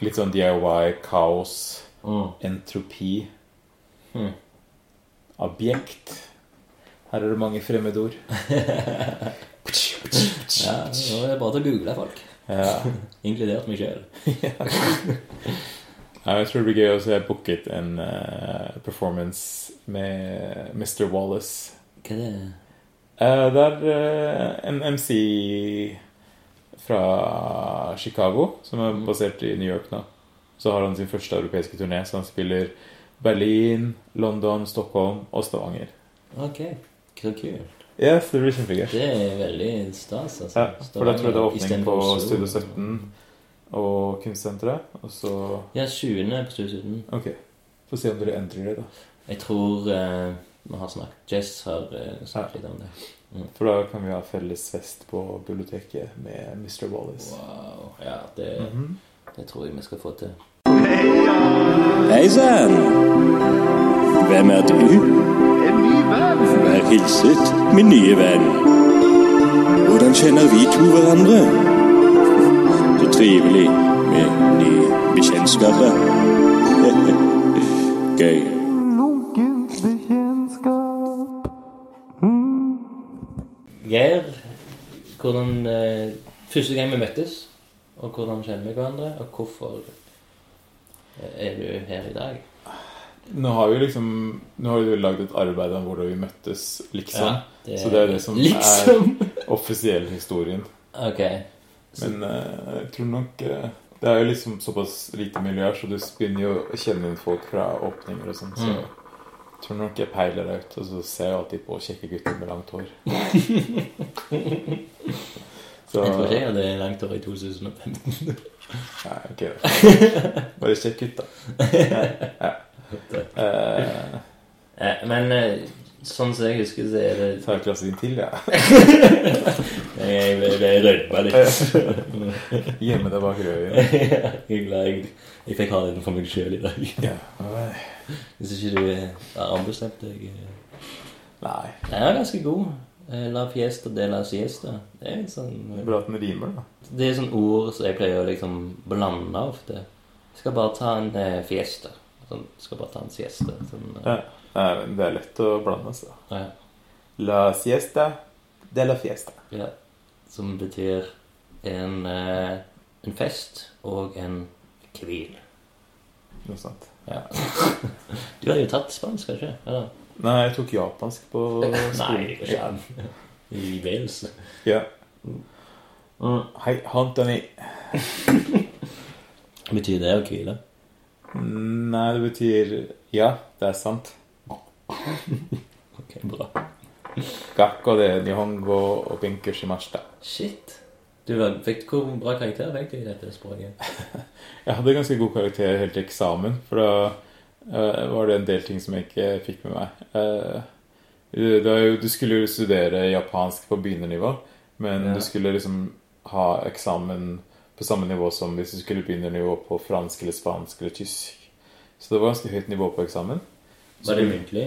litt sånn DIY, kaos, [LAUGHS] Mm. entropi, Hmm. Mm. objekt. Her er det mange fremmedord. Ja, nå er det bare til å google folk. Ja. Inkludert meg sjøl. Nei, jeg tror det blir gøy også. Jeg booket en eh, performance med Mr. Wallace. Hva er det? Eh, det er eh, en MC fra Chicago som er basert i New York nå. Så har han sin første europeiske turné, så han spiller Berlin, London, Stockholm og Stavanger. Ok, så kult. Ja, så det blir kjempegøy. Det er veldig stas, Ja, altså. for da tror jeg det er åpning på Istedenfor Oslo. Studio 17 og Kunstsenteret, og så Ja, 20. på Studio 17. Ok. Få se om dere endrer det, da. Jeg tror eh, vi har snakket Jess har eh, snakket litt om det. Mm. For da kan vi ha felles fest på biblioteket med Mr. Wallace. Wow. Ja, det, Mhm. det tror jeg vi skal få til. Hei sann! Hvem er du? En ny venn! Vær hilset, min nye venn. Hvor Hvordan kjenner vi to hverandre? Så trivelig med nye bekjentskaper. [LAUGHS] Gøy. Geir, hvordan eh, Første gang vi møttes, og hvordan kjenner vi hverandre, og hvorfor eh, er du her i dag? Nå har vi liksom Nå har vi lagd et arbeid om hvordan vi møttes, liksom. Ja, Sånn. det- Så det er jo det som liksom. [LAUGHS] er [LAUGHS] offisiell historien. Ok. Men eh, jeg tror nok eh, Det er jo liksom såpass lite miljø, så du begynner jo å kjenne inn folk fra åpninger og sånn. Så Mm. jeg tror nok jeg peiler deg ut, og så ser jeg alltid på kjekke gutter med [LAUGHS] langt hår. så Jeg tror ikke Nei, jeg hadde langt år i 2015. ok. [LAUGHS] da. Bare kjekk gutt, da. Ja. ja. Eh, Eh, Men eh, sånn som jeg husker, så er det tar jeg klassen din til, jeg. Jeg, jeg, jeg rødma [LAUGHS] litt. Ja. Gjemme deg bak røven. jeg er glad jeg, jeg fikk ha den for meg sjøl i dag. Ja. Hvis ikke du eh, har ombestemt deg eh. Nei. Nei, jeg er ganske god. Eh, La fiesta de la siesta. Det er, en sånn, Bra at den rimer, da. det er sånn ord som jeg pleier å liksom blande ofte. Jeg skal bare ta en eh, fiesta. Sånn, skal bare ta en siesta. Sånn, eh, Ja. Nei, men det er lett å blande, altså. ja. La siesta de la fiesta. Ja. Som betyr en, eh, en fest og en hvil. Noe sånt. Du har jo tatt spansk, har du ikke? Eller? Nei, jeg tok japansk på [LAUGHS] Nei, det går ikke an. [LAUGHS] I Wales. Ja. Hei, Anthony. Betyr det å hvile? Nei, det betyr Ja, det er sant. Ok, [LAUGHS] bra. Gakko de nihongo og binker shimashita. Shit. Du fikk hvor bra karakter fikk du i dette språket? Jeg hadde ganske god karakter helt til eksamen, for da eh, var det en del ting som jeg ikke fikk med meg. Eh, det var jo, du skulle jo studere japansk på begynernivå, men Ja. du skulle liksom ha eksamen på samme nivå som hvis du skulle begynne på fransk eller spansk eller tysk. Så det var ganske høyt nivå på eksamen. Var det muntlig?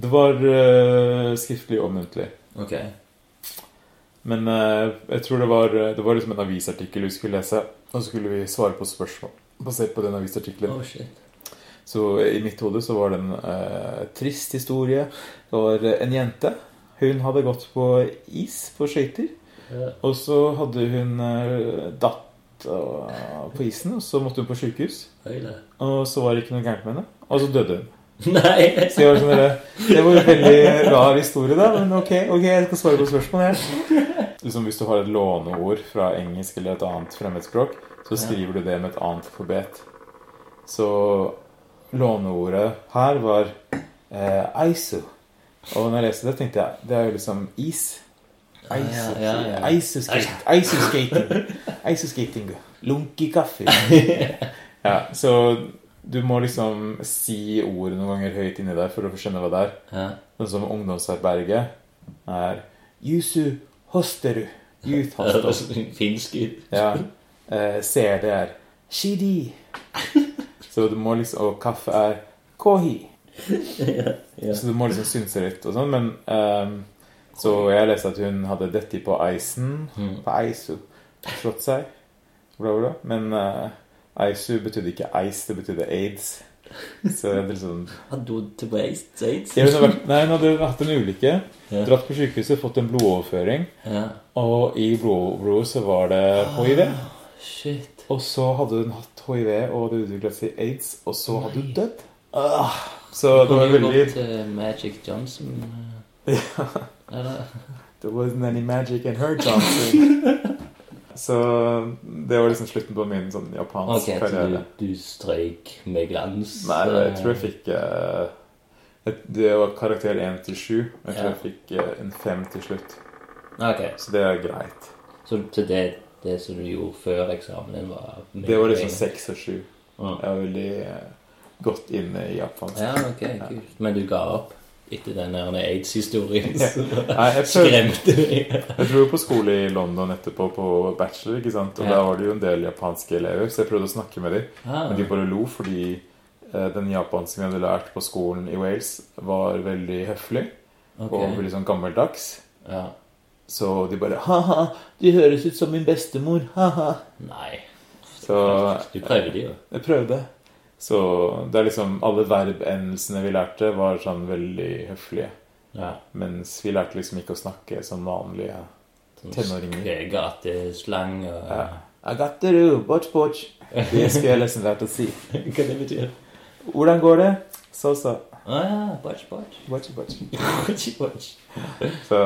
Det var eh, skriftlig og muntlig. Ok. Men eh, jeg tror det var, det var liksom en avisartikkel vi skulle lese, og så skulle vi svare på spørsmål basert på den avisartikkelen. Oh, shit. Så i mitt hode så var det en eh, trist historie. Det var en jente. Hun hadde gått på is på skøyter. Ja. Og så hadde hun eh, datt eh, på isen, og så måtte hun på sykehus. Oi da. Og så var det ikke noe gærent med henne. Og så døde hun. [LAUGHS] Nei! Så jeg var sånn der, Det var en veldig rar historie, da. Men ok, ok, jeg skal svare på spørsmål. Jeg. Liksom, hvis du har et låneord fra engelsk eller et annet fremmedspråk, så skriver du det med et annet alfabet. Så låneordet her var eh, aisu. Og når jeg leste det, tenkte jeg det er jo liksom is. Aisu- ja, ja, ja. aisu skate- Aisu skating. Aisu skating. Lunky [LAUGHS] kaffe. Ja, så du må liksom si ordet noen ganger høyt inni deg for å få skjønne hva det er. [LAUGHS] Ja. Sånn som ungdomsherberget er Yusu hosteru. Youth [LAUGHS] hostel. Finsk ut. Ja. Eh, CD er Shidi. Så du må liksom Og kaffe er Kohi. ja. Så du må liksom synse litt og sånn, men ehm, Så jeg leste at hun hadde dette på isen. Mm. På Aisu. Slått seg. Bla, bla. Men eh, Aisu betydde ikke ice, det betydde aids. Så det er liksom Har du til Wales States? Jeg hadde vært, nei, hun hadde hatt en ulykke. Ja. Dratt på sykehuset, fått en blodoverføring. Ja. Og i blod- blodet så var det hiv. Shit. Og så hadde hun hatt hiv, og det utviklet seg aids, og så hadde hun dødd. Ah, så det var Kunne du veldig gått til Magic Johnson? eh. [LAUGHS] Ja. Eller? There wasn't any magic in her dancing. så det var liksom slutten på min sånn Ok, japansk så du, karriere. du strøyk med glans? Nei, jeg tror jeg fikk eh, et, Det var karakter 1 til 7. Jeg tror Ja. jeg fikk eh, en 5 til slutt. Ok, Så det er greit. Så til det, det som du gjorde før eksamen din var med Det var liksom poeng. 6 og 7. Mm. Jeg var veldig eh, godt inne i japansk. Ja, ok, kult. Men du ga opp etter den der aids-historien? Ja. så [LAUGHS] Nei, jeg, prøvde, Skremte deg? [LAUGHS] jeg dro på skole i London etterpå på bachelor, ikke sant? og Ja. der var det jo en del japanske elever, så jeg prøvde å snakke med dem. Ah, Men de bare lo fordi eh, den japansken jeg hadde lært på skolen i Wales, var veldig høflig Ah, ok. og veldig sånn gammeldags. Ja. Så de bare Ha-ha, du høres ut som min bestemor. Ha-ha. Nei. Så Du prøvde jo. jeg prøvde. Så det er liksom Alle verbendelsene vi lærte, var sånn veldig høflige. Ja. Mens vi lærte liksom ikke å snakke som vanlige tenåringer. Gaterslang og Ja. I got the room, botch, botch. Det skulle jeg nesten lært å si. [LAUGHS] Hva det betyr? Hvordan går det? Så, så. Å ja. Botch, botch. Botch, botch. Botch, botch. Så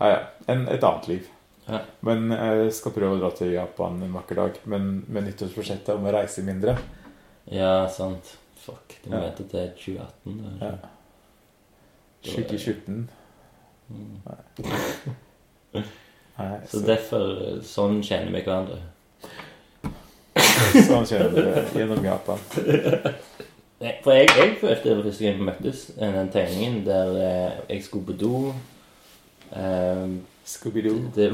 ja, ja. En, et annet liv. Ja. Men jeg skal prøve å dra til Japan en vakker dag. Men med nyttårsprosjektet om å reise mindre. Ja, sant. Fuck. Du må Ja. vente til 2018. Da. Ja. Sjuk i skjorten. Nei. Nei, Så [LAUGHS] så, derfor Sånn kjenner vi hverandre. sånn kjører det gjennom Japan. Nei, For jeg, jeg følte det første gang vi møttes, eh, den tegningen der eh, jeg skulle på do eh, Scooby-Doo. Det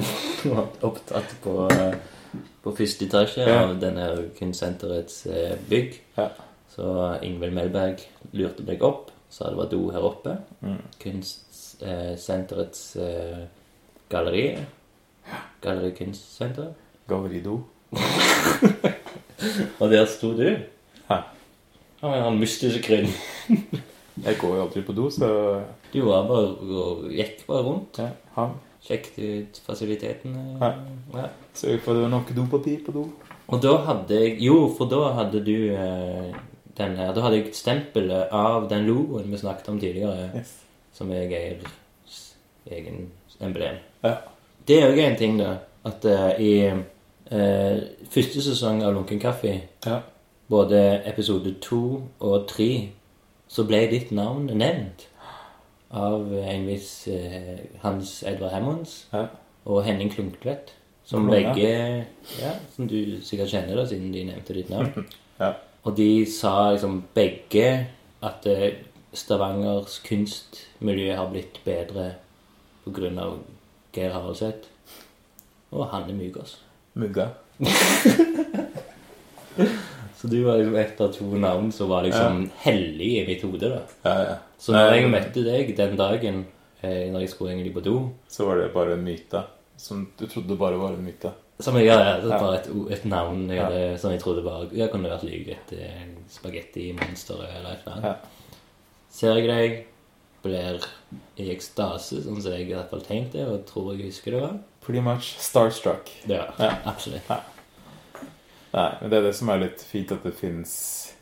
var opptatt på, eh, på første etasje Ja. av denne kunstsenterets eh, bygg. Ja. Så Ingvild Melberg lurte meg opp, sa det var do her oppe. Mm. Kunstsenterets eh, galleri. Galleri Kunstsenter. Galleri-do. Og der sto du. Ja. Av en eller annen mystisk grunn. Jeg går jo aldri på do, så Du var bare og gikk bare rundt. ja, han. Sjekket ut fasilitetene. Ja. Ja. Sørg for at det var nok dopapir på do. Og da hadde jeg Jo, for da hadde du eh, den her Da hadde jeg stempelet av den logoen vi snakket om tidligere, Yes. som er Geirs egen emblem. Ja. Det er òg en ting, da, at eh, i eh, første sesong av Lunken kaffe, Ja. både episode to og tre, så ble ditt navn nevnt av en viss eh, Hans Edvard Hammonds Ja. og Henning Klunkvedt. Som Klunga. begge ja, Som du sikkert kjenner, da, siden de nevnte ditt navn. [LAUGHS] Ja. Og de sa liksom begge at eh, Stavangers kunstmiljø har blitt bedre pga. Geir Haraldseth og Hanne Mygås. Mugga. Så du var liksom ett av to navn som var liksom hellig i mitt hode. da. Ja, ja. Så når Nei, jeg møtte deg den dagen eh, når jeg skulle egentlig på do Så var det bare en myte. Som du trodde bare var en myte. Som jeg hadde, det Ja. var bare et, o- et navn jeg hadde, som jeg trodde bare Jeg kunne vært lik et eh, spagettimonster eller et eller annet. Ja. Ser jeg deg, blir i ekstase, sånn som jeg i hvert fall tenkte og tror jeg husker det var. Pretty much starstruck. Ja, Ja. absolutt. Nei, men det er det som er litt fint, at det fins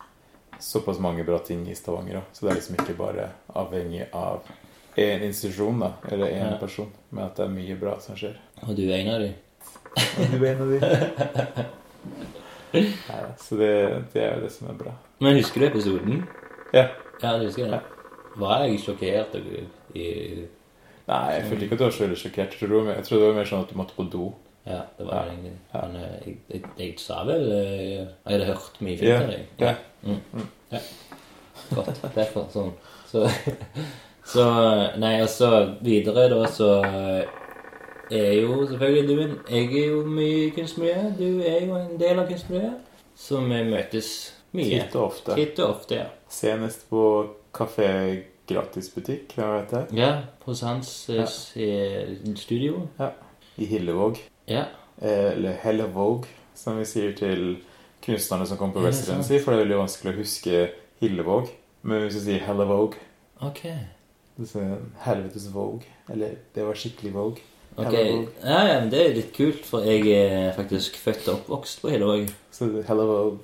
såpass mange bra ting i Stavanger òg. Så det er liksom ikke bare avhengig av én institusjon, da, eller én Ja. person, men at det er mye bra som skjer. Og du er en av de. Du er en av de. [LAUGHS] Nei, så det, det er jo det som er bra. Men husker du episoden? Ja. Ja, du husker det? Var jeg sjokkert? og- i- Nei, jeg følte ikke at du var så veldig sjokkert. Jeg tror det var mer- jeg tror det var mer sånn at du måtte på do. Ja, det var Ja. det egentlig. Ja. Men eh, jeg, jeg, jeg sa vel eh, Jeg hadde hørt mye fint Ja. av deg. ja. Godt. Derfor. Sånn. Så, så Nei, og så videre, da, så er jo selvfølgelig du en Jeg er jo mye i kunstmiljøet. Du er jo en del av kunstmiljøet. Så vi møtes mye. Titt og ofte. Titt og ofte, ja. Senest på kafé gratisbutikk, hva vet jeg, Ja, Hos hans eh, Ja. s- eh, studio. i Hillevåg. Ja. Eh, Eller Hellevåg, som vi sier til kunstnerne som kommer på Ja, det er Residency. For det er veldig vanskelig å huske Hillevåg. Men hvis du sier Hellevåg Ok. så sier jeg Helvetes Våg. Eller Det var skikkelig Våg. Ok, Hellevåg. ja, ja, men Det er litt kult, for jeg er faktisk født og oppvokst på Hillevåg. Så Hellevåg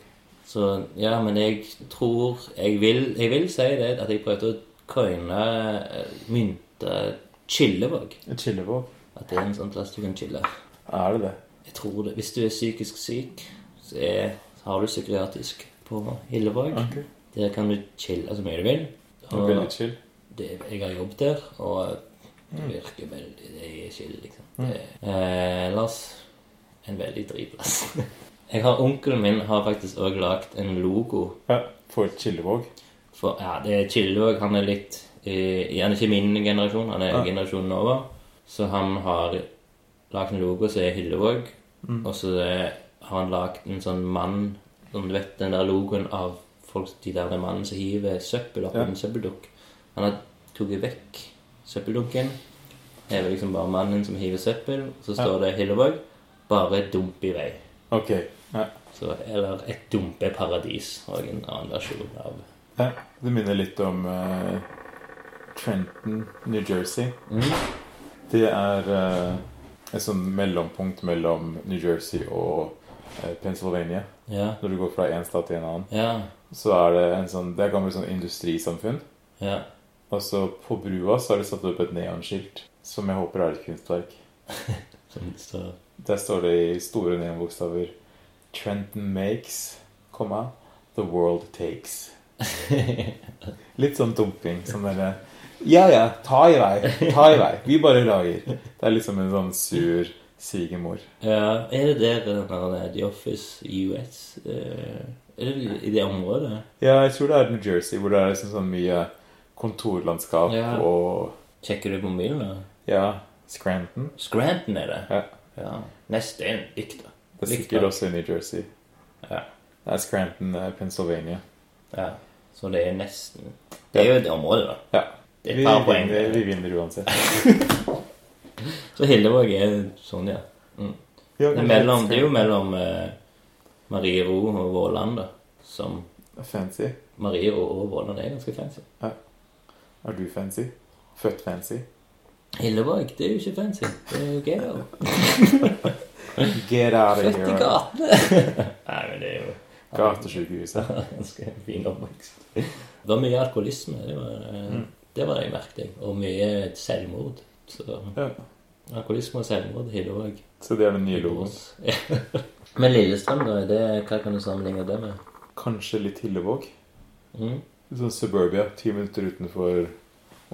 Så ja, men jeg tror Jeg vil, jeg vil si det at jeg prøvde å coine eh, mynte Chillevåg. Chillevåg. At det er en sånn plass du kan chille. Er det det? Jeg tror det. Hvis du er psykisk syk, så er, har du psykiatrisk på Hillevåg. Okay. Der kan du chille så mye du vil. Det var Og Veldig chill. det, jeg har jobb der, og det virker veldig Det er chill, liksom. Det, eh, ellers en veldig dritplass. [LAUGHS] Jeg har, Onkelen min har faktisk òg lagd en logo Ja, For Chillevåg. For ja, det er Chillevåg. Han er litt eh, Han er ikke min generasjon, han er Ja. generasjonen over. Så han har lagd en logo som er Hyllevåg. Mm. Og så eh, har han lagd en sånn mann som du vet, den der logoen av folk, de der den mannen som hiver søppel opp i Ja. en søppeldukk. Han har tatt vekk søppeldunken. er det liksom bare mannen som hiver søppel. Så står det Hilleborg. Bare dump i vei. Ok. Ja. Så, eller Et dumpeparadis. Og en annen versjon av Ja. Det minner litt om eh, Trenton, New Jersey. Det er eh, et sånn mellompunkt mellom New Jersey og eh, Pennsylvania. Ja. Når du går fra en stat til en annen, Ja. så er det en sånn Det er gammelt sånn industrisamfunn. Ja. Og så på brua så har de satt opp et neonskilt som jeg håper er et kunstverk. Som det står Der står det i store neonbokstaver Trenton makes, komma, the world [LAUGHS] takes. Litt sånn dumping. Sånn derre Ja ja, ta i vei. Ta i vei. Vi bare lager. Det er liksom en sånn sur svigermor. Ja, er det der den her eh, The Office US eh, Er det i det området? Ja, jeg tror det er New Jersey, hvor det er liksom sånn mye kontorlandskap Ja. og Sjekker du på mobilen? da? Ja, Scranton. Scranton er det. Ja. ja. Neste er en dikt, da. Det er Likt, sikkert da. også i New Jersey. Ja. Det er Scranton, eh, Pennsylvania. ja. Så det er nesten Det er jo et område, da. Ja. Det er vi, et par poeng. vinner, vi vinner uansett. Så Hillevåg er sånn, ja. Mm. Ja, Det, er mellom, det er jo mellom eh, Mariero og Våland, da. Som Fancy. Mariero og Våland er ganske fancy. Er du fancy? Født fancy? Hillevåg, det er jo ikke fancy. Det er jo gøy. da. Get out of Født i here. gatene. [LAUGHS] Nei, men det er jo [LAUGHS] Gatesjukehuset. ganske fin oppvekst. Det var mye alkoholisme. Det var, eh, det, var det jeg merket. jeg. Og mye selvmord. Så [LAUGHS] Ja. alkoholisme og selvmord hyller òg. Så det er den nye logoen. [LAUGHS] Men Lillestrøm, da? er Det, hva kan du sammenligne det med? Kanskje litt Hillevåg? Mm. Sånn suburbia, ti minutter utenfor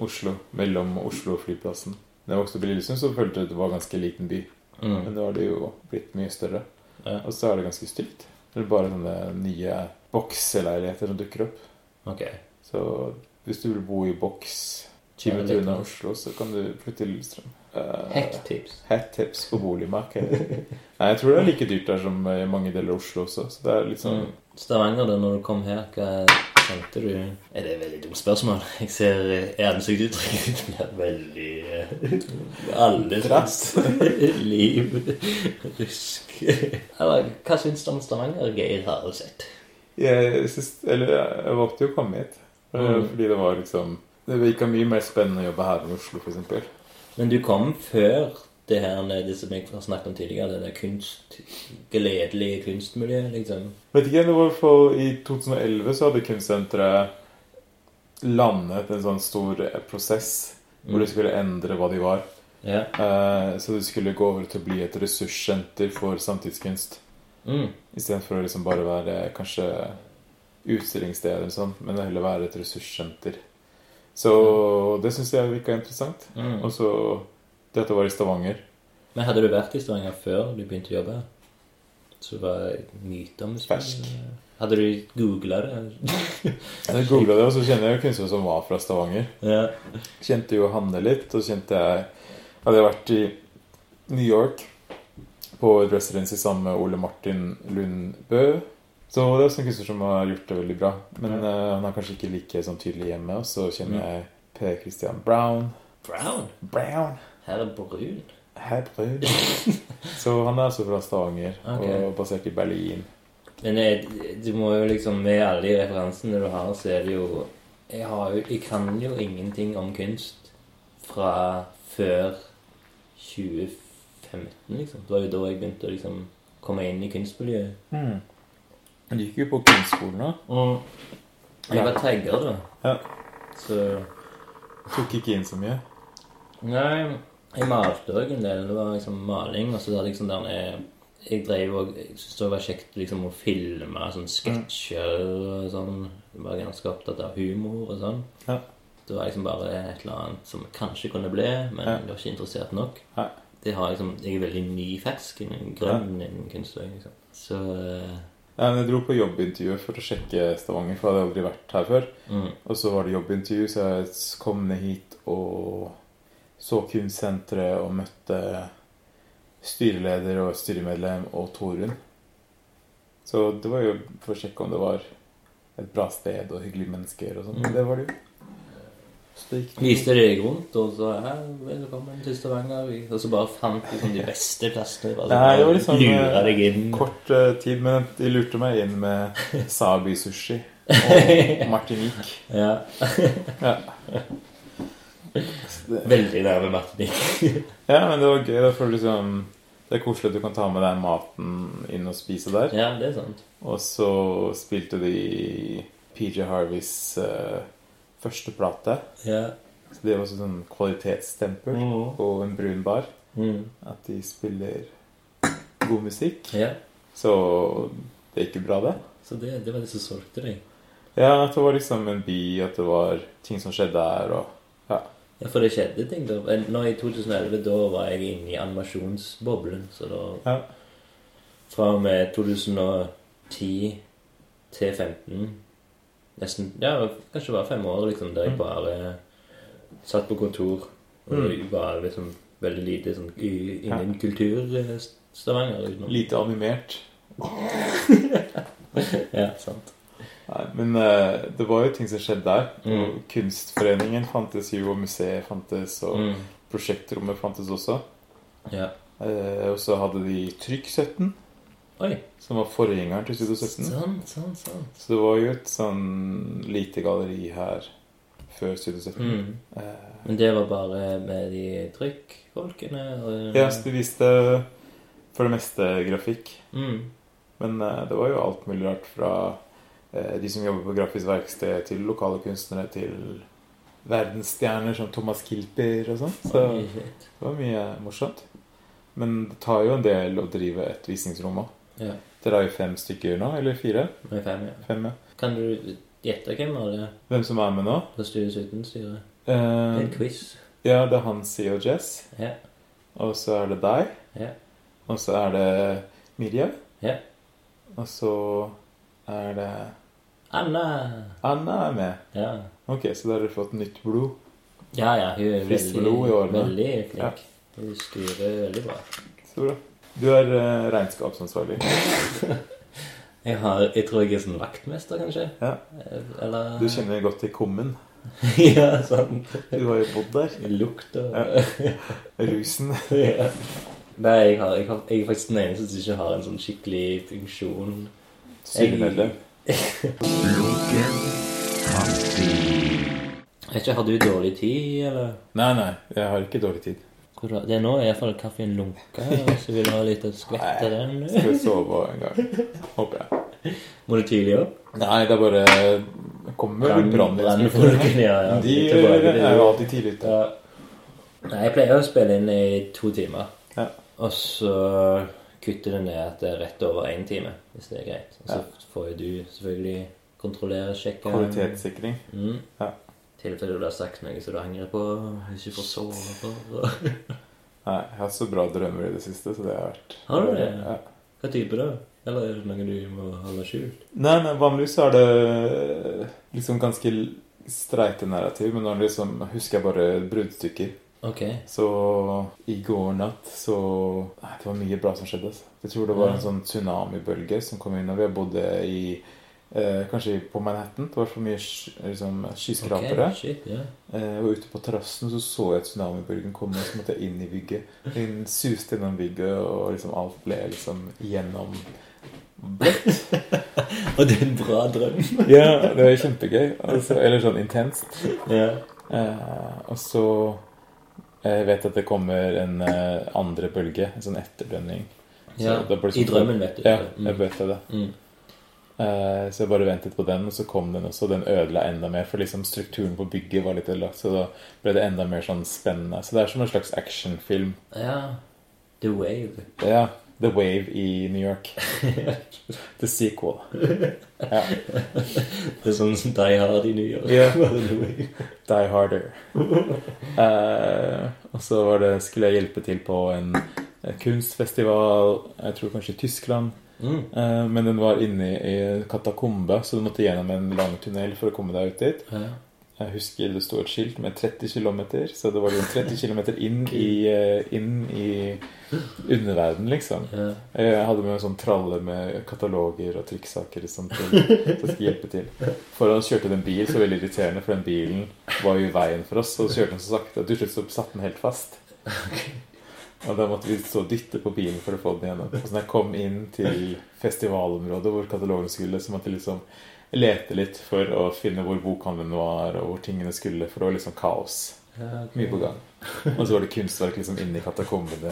Oslo. Mellom Oslo og flyplassen. Da jeg vokste opp i Lillesund, så følte jeg at det var en ganske liten by. Mm. Men nå har det jo blitt mye større. Ja. Og så er det ganske stygt. Det er bare sånne nye bokseleiligheter som dukker opp. Ok. Så hvis du vil bo i boks Ja, det 20 er minutter unna klart. Oslo, så kan du flytte til Lillestrøm. Eh, Hekktips. Hett tips på boligmarkedet. Nei, jeg tror det er like dyrt der som i mange deler av Oslo også. Så det er litt sånn Mm. Stavanger, da når du kom her, hva tenkte du? Er det et veldig dumt spørsmål? [LAUGHS] Jeg ser eh, [LAUGHS] ansiktsuttrykket ditt blir veldig eh, [LAUGHS] Alle Rast. [LAUGHS] liv rusk. [LAUGHS] Eller hva syns du om Stavanger, Geir Haraldset? Jeg, synes, eller, jeg valgte jo å komme hit. eh, Mm. Fordi det var liksom Det virka mye mer spennende å jobbe her enn i Oslo, f.eks. Men du kom før det her med det som jeg har snakket om tidligere, det der kunst Gledelige kunstmiljøet, liksom. Vet ikke, det var i hvert fall I 2011 så hadde Kunstsenteret landet en sånn stor eh, prosess Mm. hvor de skulle endre hva de var. Ja. Eh, Så det skulle gå over til å bli et ressurssenter for samtidskunst. Mm. Istedenfor å liksom bare være kanskje utstillingssted eller sånn, men heller være et ressurssenter. Så det syns jeg virka interessant. Mm. Og så Dette var i Stavanger. Men hadde du vært i Stavanger før du begynte å jobbe her? Så var myter om Fersk. Hadde du googla det? [LAUGHS] Jeg googla det, og så kjenner jeg jo kunstnere som var fra Stavanger. ja. Kjente jo Hanne litt, og så kjente jeg Hadde jeg vært i New York på et residency sammen med Ole Martin Lundbø. Så det er også en kunstner som har gjort det veldig bra. Men eh, han er kanskje ikke like sånn tydelig hjemme. Og så kjenner jeg Per Christian Brown. Brown? Brown! Her er brun. Hei, bror. [LAUGHS] Så han er altså fra Stavanger Ok. og basert i Berlin. Men eh, du må jo liksom Med alle de referansene du har, så er det jo Jeg, har jo, jeg kan jo ingenting om kunst fra før 2015, liksom. Det var jo da jeg begynte å liksom komme inn i kunstmiljøet. Han gikk jo på kunstskolen òg. Og jeg var tagger, da. Ja. Så Tok ikke inn så mye. Nei, jeg malte òg en del. Det var liksom maling. Og så da liksom der jeg, jeg drev og Jeg syntes det var kjekt liksom å filme sånn sketsjer og sånn. Jeg var ganske opptatt av humor og sånn. Ja. Det var liksom bare et eller annet som kanskje kunne bli, men Ja. jeg var ikke interessert nok. Nei. Det har liksom, Jeg er veldig nyfersk innen grønn innen kunst. også, Liksom. Så eh, Nei, men Jeg dro på jobbintervjuet for å sjekke Stavanger, for jeg hadde aldri vært her før. mm, Og så var det jobbintervju, så jeg kom ned hit og så kunstsenteret og møtte styreleder og styremedlem og Torunn. Så det var jo for å sjekke om det var et bra sted og hyggelige mennesker og sånn. Mm. Det var det jo. Så det gikk Viste de deg rundt, og så ja, velkommen til Stavanger. vi- Og så bare fant de sånn de beste plassene. Bare, Nei, det var liksom, Lura eh, deg inn. kort eh, tid, men de lurte meg inn med Sabi-sushi og Martinique. Ja, Ja. Så det- Veldig nærme matematikk. Ja, men det var gøy. Da, for liksom, det er koselig at du kan ta med deg maten inn og spise der. Ja, det er sant. Og så spilte de PJ Harveys eh, første plate. Ja. Så det var også sånn kvalitetsstempel Mhm. på en brun bar. Mm. At de spiller god musikk. ja. Så det gikk jo bra, det. Så det, det var det som solgte deg. Ja, at det var liksom en by, at det var ting som skjedde der, og ja. Ja, for det skjedde ting da. Nå I 2011 da var jeg inne i animasjonsboblen. Så da ja. fra og med 2010 til 15 Nesten Ja, kanskje bare fem år, liksom, Mm. der jeg bare satt på kontor og var liksom veldig lite sånn i- innen kultur eh, Stavanger. Liksom. Lite animert. Ja, sant. Nei, men eh, det var jo ting som skjedde der. Mm. Og kunstforeningen fantes jo, og museet fantes, og Mm. prosjektrommet fantes også. Ja. Eh, og så hadde de Trykk 17, Oi. som var forgjengeren til Studio 17. Sånn, sånn, sånn. Så det var jo et sånn lite galleri her før Studio 17. Mm. Eh, Men det var bare med de trykkfolkene? og- ja, så de viste for det meste grafikk. mm. Men eh, det var jo alt mulig rart fra eh, de som jobber på grafisk verksted, til lokale kunstnere, til verdensstjerner som Thomas Kilper og sånn. Så Oi, shit. det var mye morsomt. Men det tar jo en del å drive et visningsrom òg. Ja. Dere har jo fem stykker nå, eller fire? Med fem, ja. Fem, ja. Kan du gjette hvem var det Hvem som er med nå? på Studio 17-styret? Eh, En quiz. ja, det er Hansi og Jess. Ja. Og så er det deg. Ja. Og så er det Mirjam. Ja. Og så er det Anna! Anna er med. Ja. Ok, så da har dere fått nytt blod. ja, ja. Hun er Friskt veldig, blod i årene. veldig Ja. flink. Hun styrer veldig bra. Så bra. Du er eh, regnskapsansvarlig. Jeg, har, jeg tror jeg er sånn vaktmester, kanskje. Ja. Eller Du kjenner godt til kummen. [LAUGHS] Ja, sant. Du har jo bodd der. Lukt og Ja. Rusen. [LAUGHS] ja. Nei, jeg, har, jeg, har, jeg er faktisk den eneste som ikke har en sånn skikkelig funksjon. Synede. Lunken kaffe. Jeg vet ikke, Har du dårlig tid, eller? Nei, nei, jeg har ikke dårlig tid. Hvor da? Det er nå i hvert fall kaffen lunker, og så vil du ha litt å skvette Nei. den. Skal jeg sove en gang? Håper jeg. Må du tidlig opp? Nei, det er bare det kommer Brann- branninspektørene. brannfolkene, [LAUGHS] ja, ja. De Tilbake til- er jo alltid tidlig ute. Ja. Nei, jeg pleier å spille inn i to timer. Ja. Og så kutter det ned at det er rett over én time, hvis det er greit. Og så får jo du selvfølgelig kontrollere, sjekke Kvalitetssikring. Mm. Ja. I tilfelle du har sagt noe som du angrer på, ikke får sove for. Nei, jeg har hatt så bra drømmer i det siste, så det har vært Har du det? Ja. [LAUGHS] Hva type da? Eller er det noe du må holde skjult? Nei, men vanligvis så er det liksom ganske streite narrativ, men nå er det liksom, husker jeg bare bruddstykker. Ok. Så i går natt så Nei, det var mye bra som skjedde. Altså. Jeg tror det var en sånn tsunamibølge som kom innover. Jeg bodde i eh, Kanskje på Manhattan. Det var for mye sk- liksom, skyskrapere. Ok, shit, ja. [LAUGHS] Eh, Jeg var ute på terrassen, så så jeg tsunamibølgen komme, og så måtte jeg inn i bygget. Den suste gjennom bygget, og liksom alt ble liksom gjennom bløtt. Og det er en bra [LAUGHS] drøm. Ja, det var [LAUGHS] kjempegøy. Altså, eller sånn intenst. ja. Eh, og så Jeg vet at det kommer en eh, andre bølge, en sånn etterdønning. Så ja. det ble sånn- I drømmen, vet du. Ja, Mm. jeg vet det. Mm. Eh, Så jeg bare ventet på den, og så kom den også. og Den ødela enda mer, for liksom strukturen på bygget var litt ødelagt. Så da ble det enda mer sånn spennende. Så det er som en slags actionfilm. Ja. The Wave. Ja. The Wave i New [LAUGHS] York. The sequel. Det er sånn som Die Hard i New York. Ja. Bare [LAUGHS] The Wave. Die Harder. Eh, og så var det, skulle jeg hjelpe til på en eh, kunstfestival, jeg tror kanskje i Tyskland. Mm. Eh, men den var inne i i katakombe, så du måtte gjennom en lang tunnel for å komme deg ut dit. Ja. Eh, Jeg husker det sto et skilt med 30 km, så det var jo 30 km inn i, eh, inn i underverden, liksom. Ja. Jeg hadde med en sånn tralle med kataloger og trykksaker som, til, som skulle hjelpe til. Foran kjørte det en bil, så veldig irriterende, for den bilen var jo i veien for oss. Og så kjørte den så sakte at til slutt så satt den helt fast. Og da måtte vi stå og dytte på bilen for å få den igjennom. Og så når jeg kom inn til festivalområdet hvor katalogen skulle, så måtte jeg liksom lete litt for å finne hvor bokhandelen var, og hvor tingene skulle, for det var liksom kaos. Ja, ok. Mye på gang. Og så var det kunstverk liksom inni katakombene,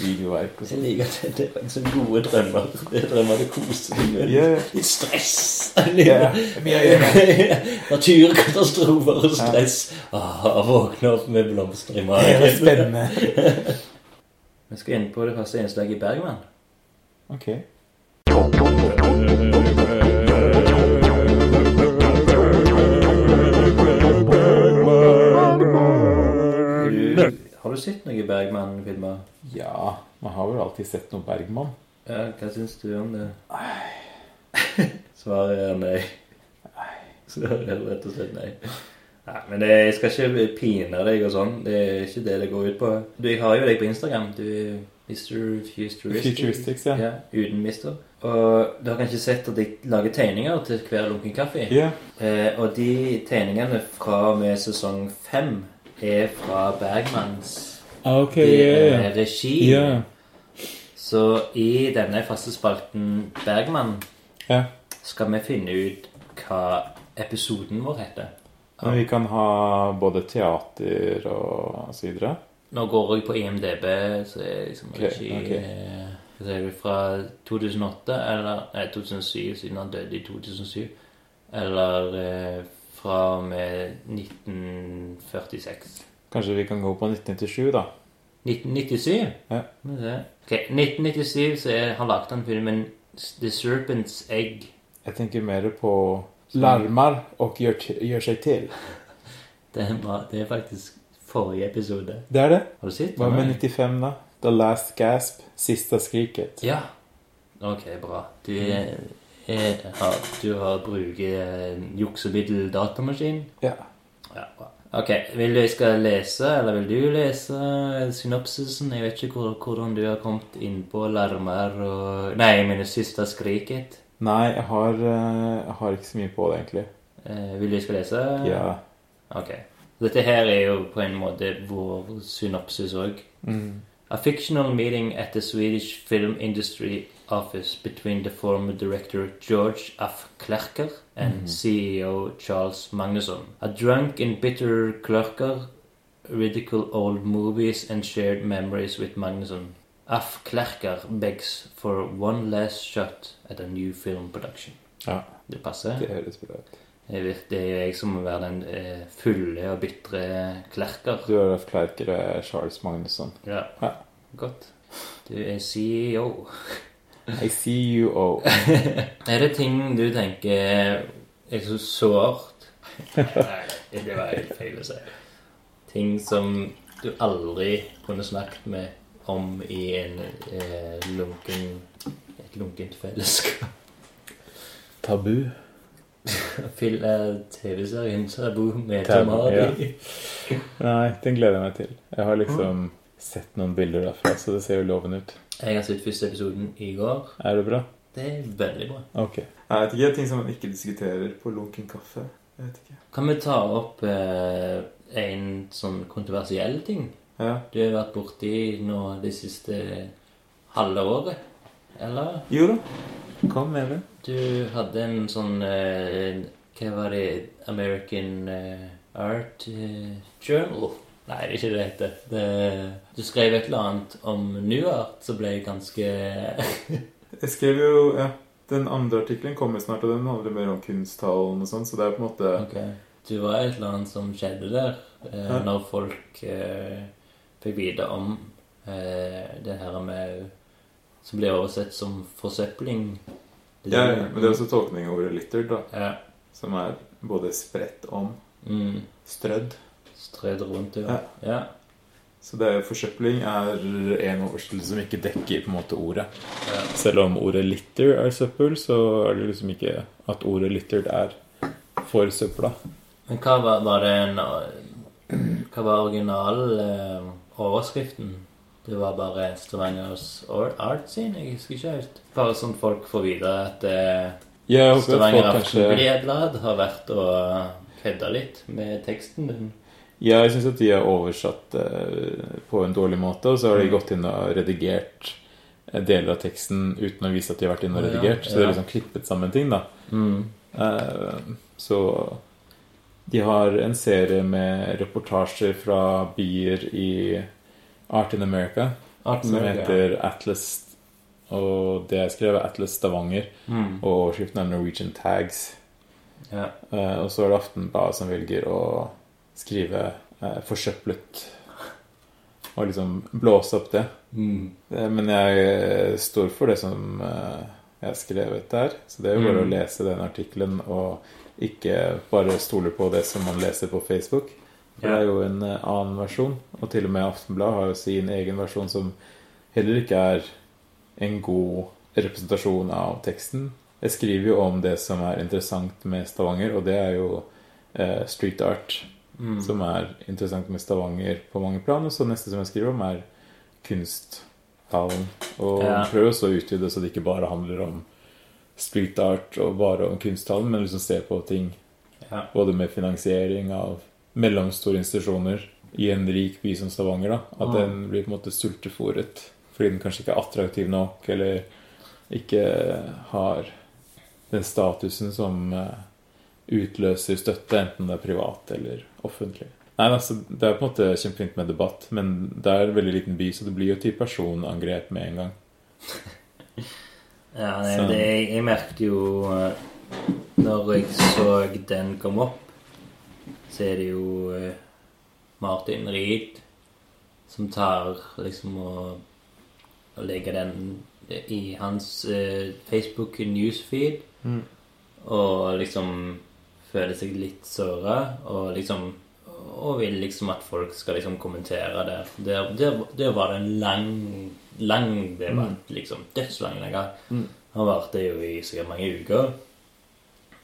videoverk og Jeg sånn. liker at det- det er så gode drømmer. Det er drømmer du koser deg med. Ja, ja. Litt stress. [LAUGHS] Ja, mye å gjøre. Naturkatastrofer og stress. Ah, våkne opp med blomster i Det var magen. spennende. Vi skal inn på det faste innslaget i Bergman. Ok. Mm. Har du sett noe Bergman-filmer? Ja, man har vel alltid sett noe Bergman. Ja, hva syns du om det? [LAUGHS] Svaret er nei. Svaret er rett og slett nei. Nei, men det, jeg skal ikke pine deg og sånn. Det er ikke det det går ut på. Du, jeg har jo deg på Instagram. Du er Mr. Futuristic. Futuristics, ja. Ja, uten mister. Og du har kanskje sett at jeg lager tegninger til hver lunken kaffe? Ja, Eh, og de tegningene fra og med sesong fem er fra Bergmans ah, ok. det Ja, er ja. regi. Ja, Så i denne faste spalten Bergman ja. skal vi finne ut hva episoden vår heter. Men vi kan ha både teater og så videre. Nå går jeg på IMDb, så det er liksom Ok, regi ok. eh, Hva sier du, fra 2008 eller Nei, 2007, siden han døde i 2007. Eller eh, fra og med 1946. Kanskje vi kan gå på 1997, da. 1997? Ja. Må vi se. Ok, 1997 så er, har lagt han filmen The Serpent's Egg. Jeg tenker mer på larmer og gjør, t- gjør seg til. Det er, bra. det er faktisk forrige episode. Det er det. Har du sett Hva med den? 95, da? The Last Gasp. Siste skriket. Ja. Ok, bra. Du, er, eh, er, har, du har bruker juksemiddel datamaskin? Ja. Ja, bra. Ok, vil du jeg skal lese, eller vil du lese eh, synopsisen? Jeg vet ikke hvor, hvordan du har kommet inn på larmer og Nei, jeg mener siste skriket. Nei, jeg har, eh, jeg har ikke så mye på det, egentlig. Eh, vil du jeg skal lese? Ja. Ok. Dette her er jo på en måte vår synopsis òg. Mm. A fictional meeting at the Swedish film industry office between the former director George F. Klerker and CEO Charles Magnusson. A drunk and bitter Klerker ridicule old movies and shared memories with Magnusson. F. Klerker begs for one last shot at a new film production. Ja. Det passer. Det høres bra ut. Jeg vir- Det er jeg som må være den eh, fulle og bitre klerker. Du har hatt klerkere Charles Magnusson. Ja. Ja. Godt. Du er CEO. I see you all. Er det ting du tenker er så sårt? Nei, det var helt feil å si. Ting som du aldri kunne snakket med om i en eh, lunken, et lunkent fellesskap. Tabu. Fyll eh, TV-serien Tabu med Tabu, tomater. Nei, den gleder jeg meg til. Jeg har liksom sett noen bilder derfra, så det ser jo lovende ut. Jeg har sett første episoden i går. Er det bra? Det er veldig bra. Ok. Nei, jeg vet ikke. Ting som man ikke diskuterer på lunken kaffe. Jeg vet ikke. Kan vi ta opp eh, en sånn kontroversiell ting Ja. du har vært borti nå det siste halve året? Eller? Jo da. Kom med det. Du hadde en sånn eh, Hva var det? American eh, Art eh, Journal? Nei, det er ikke det det heter. Det, du skrev et eller annet om new art som ble ganske [LAUGHS] Jeg skrev jo ja. Den andre artikkelen kommer snart, og den handler mer om kunsthallen og sånn, så det er på en måte Ok. Det var et eller annet som skjedde der eh, Ja. når folk eh, fikk vite om eh, det her med Som ble oversett som forsøpling. Ja, ja, men det er også tolkning av ordet 'littered', da, Ja. som er både spredt om Mm, Strødd. Strødd rundt, ja. Ja. ja. Så det er jo forsøpling er en oversettelse som ikke dekker på en måte ordet. Ja. Selv om ordet 'litter' er søppel, så er det liksom ikke at ordet 'littered' er for søpla. Men hva var, var det en Hva var original eh, overskriften? Det var bare Stavangers Art- Art Scene? Jeg husker ikke helt. Bare sånn folk får vite at eh, Jeg håper at Stavanger folk kanskje Aftenblad har vært og kødda litt med teksten din. Jeg syns at de har oversatt eh, på en dårlig måte, og så har de gått inn og redigert eh, deler av teksten uten å vise at de har vært inne og Å, ja, redigert. Så de har ja. liksom klippet sammen ting, da. Mm. Eh, Så de har en serie med reportasjer fra byer i Art in America Art som America. heter Atlas. Og det jeg skrev, er Atlas Stavanger, Mm. og overskriften er Norwegian Tags. Ja. Eh, Og så er det Aftenbladet som velger å skrive eh, 'forsøplet' og liksom blåse opp det. Mm. Eh, Men jeg eh, står for det som eh, jeg har skrevet der. Så det er jo bare Mm. å lese den artikkelen og ikke bare stole på det som man leser på Facebook. For Ja. det er jo en eh, annen versjon, og til og med Aftenbladet har jo sin egen versjon som heller ikke er en god representasjon av teksten. Jeg skriver jo om det som er interessant med Stavanger, og det er jo eh, street art Mm. som er interessant med Stavanger på mange plan. Og så neste som jeg skriver om, er kunsthallen. Og Ja. prøv også å utvide så det ikke bare handler om street art og bare om kunsthallen, men liksom se på ting Ja. både med finansiering av mellomstore institusjoner i en rik by som Stavanger. da, At Mm. den blir på en måte sultefòret fordi den kanskje ikke er attraktiv nok, eller ikke har den statusen som eh, utløser støtte, enten det er privat eller offentlig. Nei, altså, Det er på en måte kjempefint med debatt, men det er en veldig liten by, så det blir jo til personangrep med en gang. Ja, nei, Så- det, jeg, jeg merket jo eh, Når jeg så den kom opp, så er det jo eh, Martin Ried som tar liksom og, og legger den i hans eh, Facebook newsfeed. Og liksom føler seg litt såra, og liksom Og vil liksom at folk skal liksom kommentere der. Der, der, der var det en lang, lang debatt, liksom. Dødslang debatt. Han varte jo i sikkert mange uker.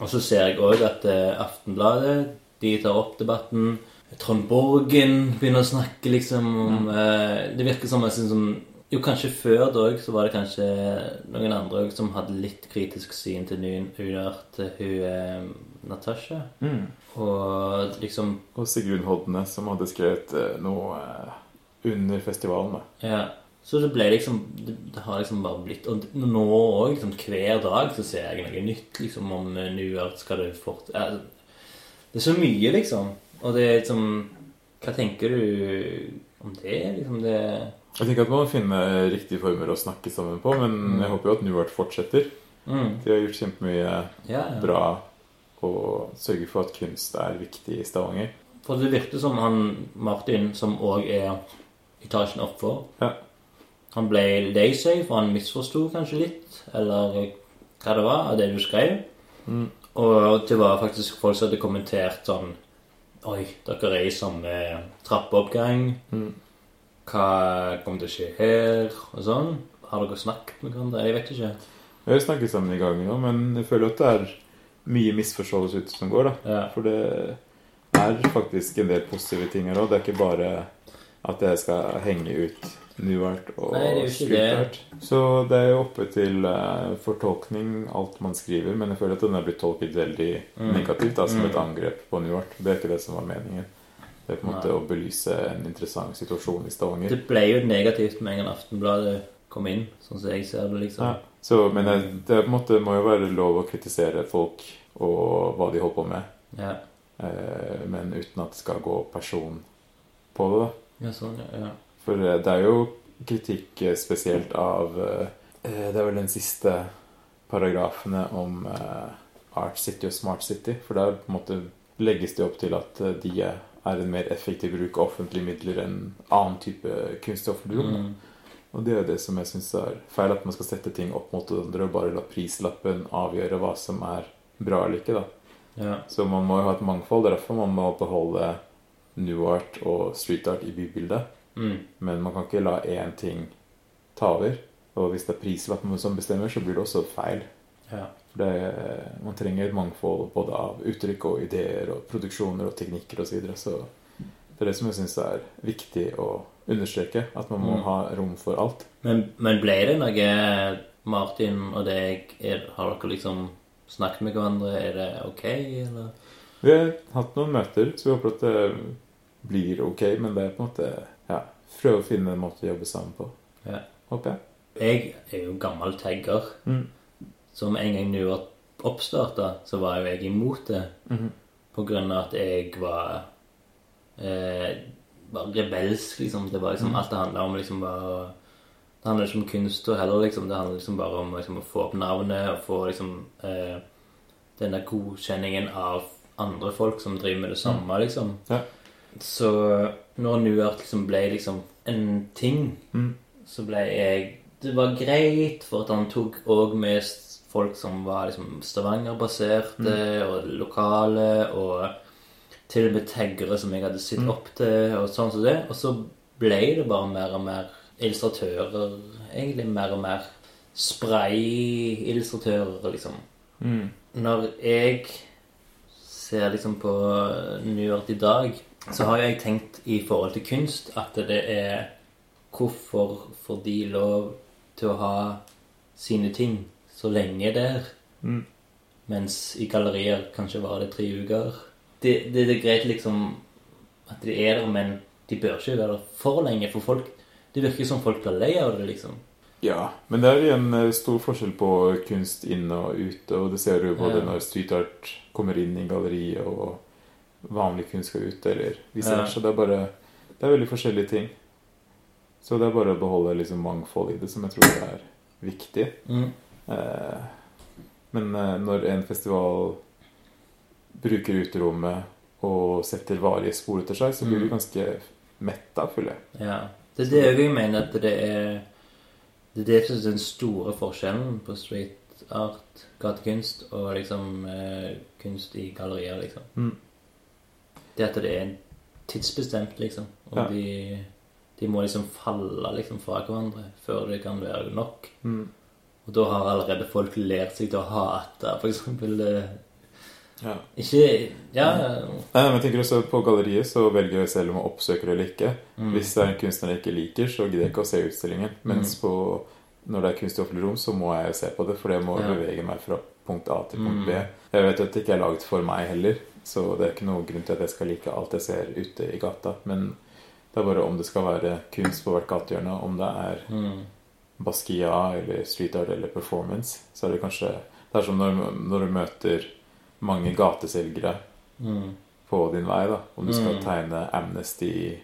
Og så ser jeg òg at eh, Aftenbladet de tar opp debatten. Trond Borgen begynner å snakke liksom om eh, Det virker som, jeg synes, som Jo, kanskje før da òg så var det kanskje noen andre også som hadde litt kritisk syn til ny unørt eh, hun eh, Natasha. Mm. Og liksom Og Sigrun Hodne, som hadde skrevet eh, noe eh, under festivalen. da. Ja. Så det ble liksom Det, det har liksom bare blitt Og det- nå òg, liksom hver dag, så ser jeg noe nytt liksom om eh, New York skal det fort ja, Det er så mye, liksom. Og det er liksom Hva tenker du om det? Liksom det Jeg tenker at man må finne riktige former å snakke sammen på, men jeg håper jo at Nuart fortsetter. mm, De har gjort kjempemye Ja, ja. bra og sørger for at kunst er viktig i Stavanger. For det virker som han Martin, som òg er etasjen oppfor Ja. Han ble lei seg, for han misforsto kanskje litt, eller hva det var, av det du skrev. Og det var faktisk folk som hadde kommentert sånn Oi, dere er i samme trappeoppgang. Hva kommer til å skje her? Og sånn. Har dere snakket med hverandre? Jeg vet ikke. Vi har snakket sammen i gangen nå, men jeg føler at det er mye misforståelser ute som går. da. Ja. For det er faktisk en del positive ting her òg. Det er ikke bare at jeg skal henge ut Nuart og Nei, det er jo ikke det. streetart. Så det er jo oppe til eh, fortolkning, alt man skriver. Men jeg føler at den er blitt tolket veldig Mm. negativt, da, som et angrep på Nuart. Det er ikke det som var meningen. Det er på en måte Nei. å belyse en interessant situasjon i Stavanger. Det ble jo negativt med en gang Aftenbladet kom inn, sånn som jeg ser det, liksom. Ja. Så, men det, det er på en måte, må jo være lov å kritisere folk og hva de holder på med. Ja. Eh, men uten at det skal gå person på det. da. ja, sånn, ja. ja. For eh, det er jo kritikk eh, spesielt av eh, eh, Det er vel den siste paragrafene om eh, Art City og Smart City. For der på en måte legges det opp til at eh, de er en mer effektiv bruk av offentlige midler enn annen type kunst i offentlig rom. da. Mm. Og det er jo det som jeg syns er feil, at man skal sette ting opp mot hverandre og bare la prislappen avgjøre hva som er bra eller ikke. da. ja. Så man må jo ha et mangfold. Det er derfor man må beholde new art og street art i bybildet. Mm. Men man kan ikke la én ting ta over. Og hvis det er prislappen som bestemmer, så blir det også feil. Ja. For det, man trenger et mangfold både av uttrykk og ideer og produksjoner og teknikker osv. Så, videre. så det er det som jeg syns er viktig å understreke. At man må Mm. ha rom for alt. Men, men ble det noe Martin og deg er, Har dere liksom snakket med hverandre? Er det ok, eller? Vi har hatt noen møter, så vi håper at det blir ok. Men det er på en måte ja, prøve å finne en måte å jobbe sammen på. Ja. Håper jeg. Jeg er jo gammel tagger. Mm. Som en gang New York oppstarta, så var jo jeg imot det. Mhm. På grunn av at jeg var eh, var rebelsk, liksom. Det var liksom Mm. alt det handla om, liksom bare Det handler ikke om kunst og heller, liksom. Det handler liksom bare om liksom, å få opp navnet og få liksom eh, denne godkjenningen av andre folk som driver med det samme, liksom. Mm. Ja. Så når New York liksom ble liksom en ting, Mm. så ble jeg Det var greit, for at han tok òg med s- folk som var liksom Stavanger-baserte og lokale, og til og med taggere som jeg hadde sett opp til, og sånn som det. Og så ble det bare mer og mer illustratører, egentlig mer og mer spray-illustratører, liksom Mm. når jeg ser liksom på New York i dag, så har jo jeg tenkt i forhold til kunst at det er hvorfor får de lov til å ha sine ting så lenge der, Mm. mens i gallerier kanskje var det tre uker. Det, det, det er greit liksom at de er der, men de bør ikke være der for lenge, for folk, det virker som folk blir lei av det, liksom. Ja, men det er igjen eh, stor forskjell på kunst inn og ute, og det ser du jo både Ja. når street art kommer inn i galleriet, og vanlig kunst skal ut, eller vice Ja. versa. Det er bare Det er veldig forskjellige ting. Så det er bare å beholde liksom mangfold i det, som jeg tror er viktig. Mm. Eh, Men eh, når en festival bruker uterommet og setter varige spor etter seg, så blir Mm. du ganske metta, føler jeg. Ja. Det er det også jeg mener at det er Det er det som er den store forskjellen på street art, gatekunst og liksom eh, kunst i gallerier, liksom. Mm. Det at det er tidsbestemt, liksom. Og Ja. de, de må liksom falle liksom fra hverandre før det kan være nok. Mm. Og da har allerede folk lært seg til å hate f.eks. Ja. Ikke Ja. Nei, nei, men jeg tenker også På galleriet så velger jeg selv om jeg oppsøker det eller ikke. Mm. Hvis det er en kunstner jeg ikke liker, så gidder jeg ikke å se utstillingen. Mens på, når det er kunst i offentlig rom, så må jeg jo se på det, for jeg må Ja. bevege meg fra punkt A til punkt Mm. B. Jeg vet jo at det ikke er laget for meg heller, så det er ikke noen grunn til at jeg skal like alt jeg ser ute i gata. Men det er bare om det skal være kunst på hvert gatehjørne, om det er Mm. Basquiat eller street art eller performance, så er det kanskje Det er som når, når du møter mange gateselgere Mm. på din vei, da. Om du skal Mm. tegne Amnesty,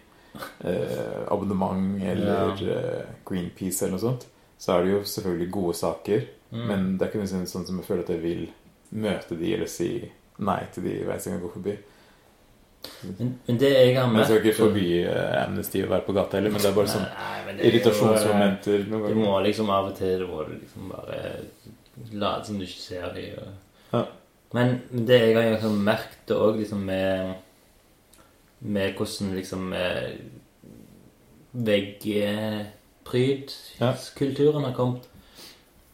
eh, abonnement eller eh, Greenpeace eller noe sånt, så er det jo selvfølgelig gode saker, Mm. men det er ikke nødvendigvis sånn som jeg føler at jeg vil møte de eller si nei til de hver eneste gang jeg går forbi. men, men det jeg har Men jeg skal ikke møtt- forby eh, Amnesty og være på gata heller, men det er bare sånn Nei, men det er jo- irritasjonsmomenter noen Du ganger. må liksom av og til må du liksom bare late som du ikke ser dem. Og... Ja. Men det jeg har liksom merket òg liksom med Med hvordan liksom eh, veggprydkulturen har kommet,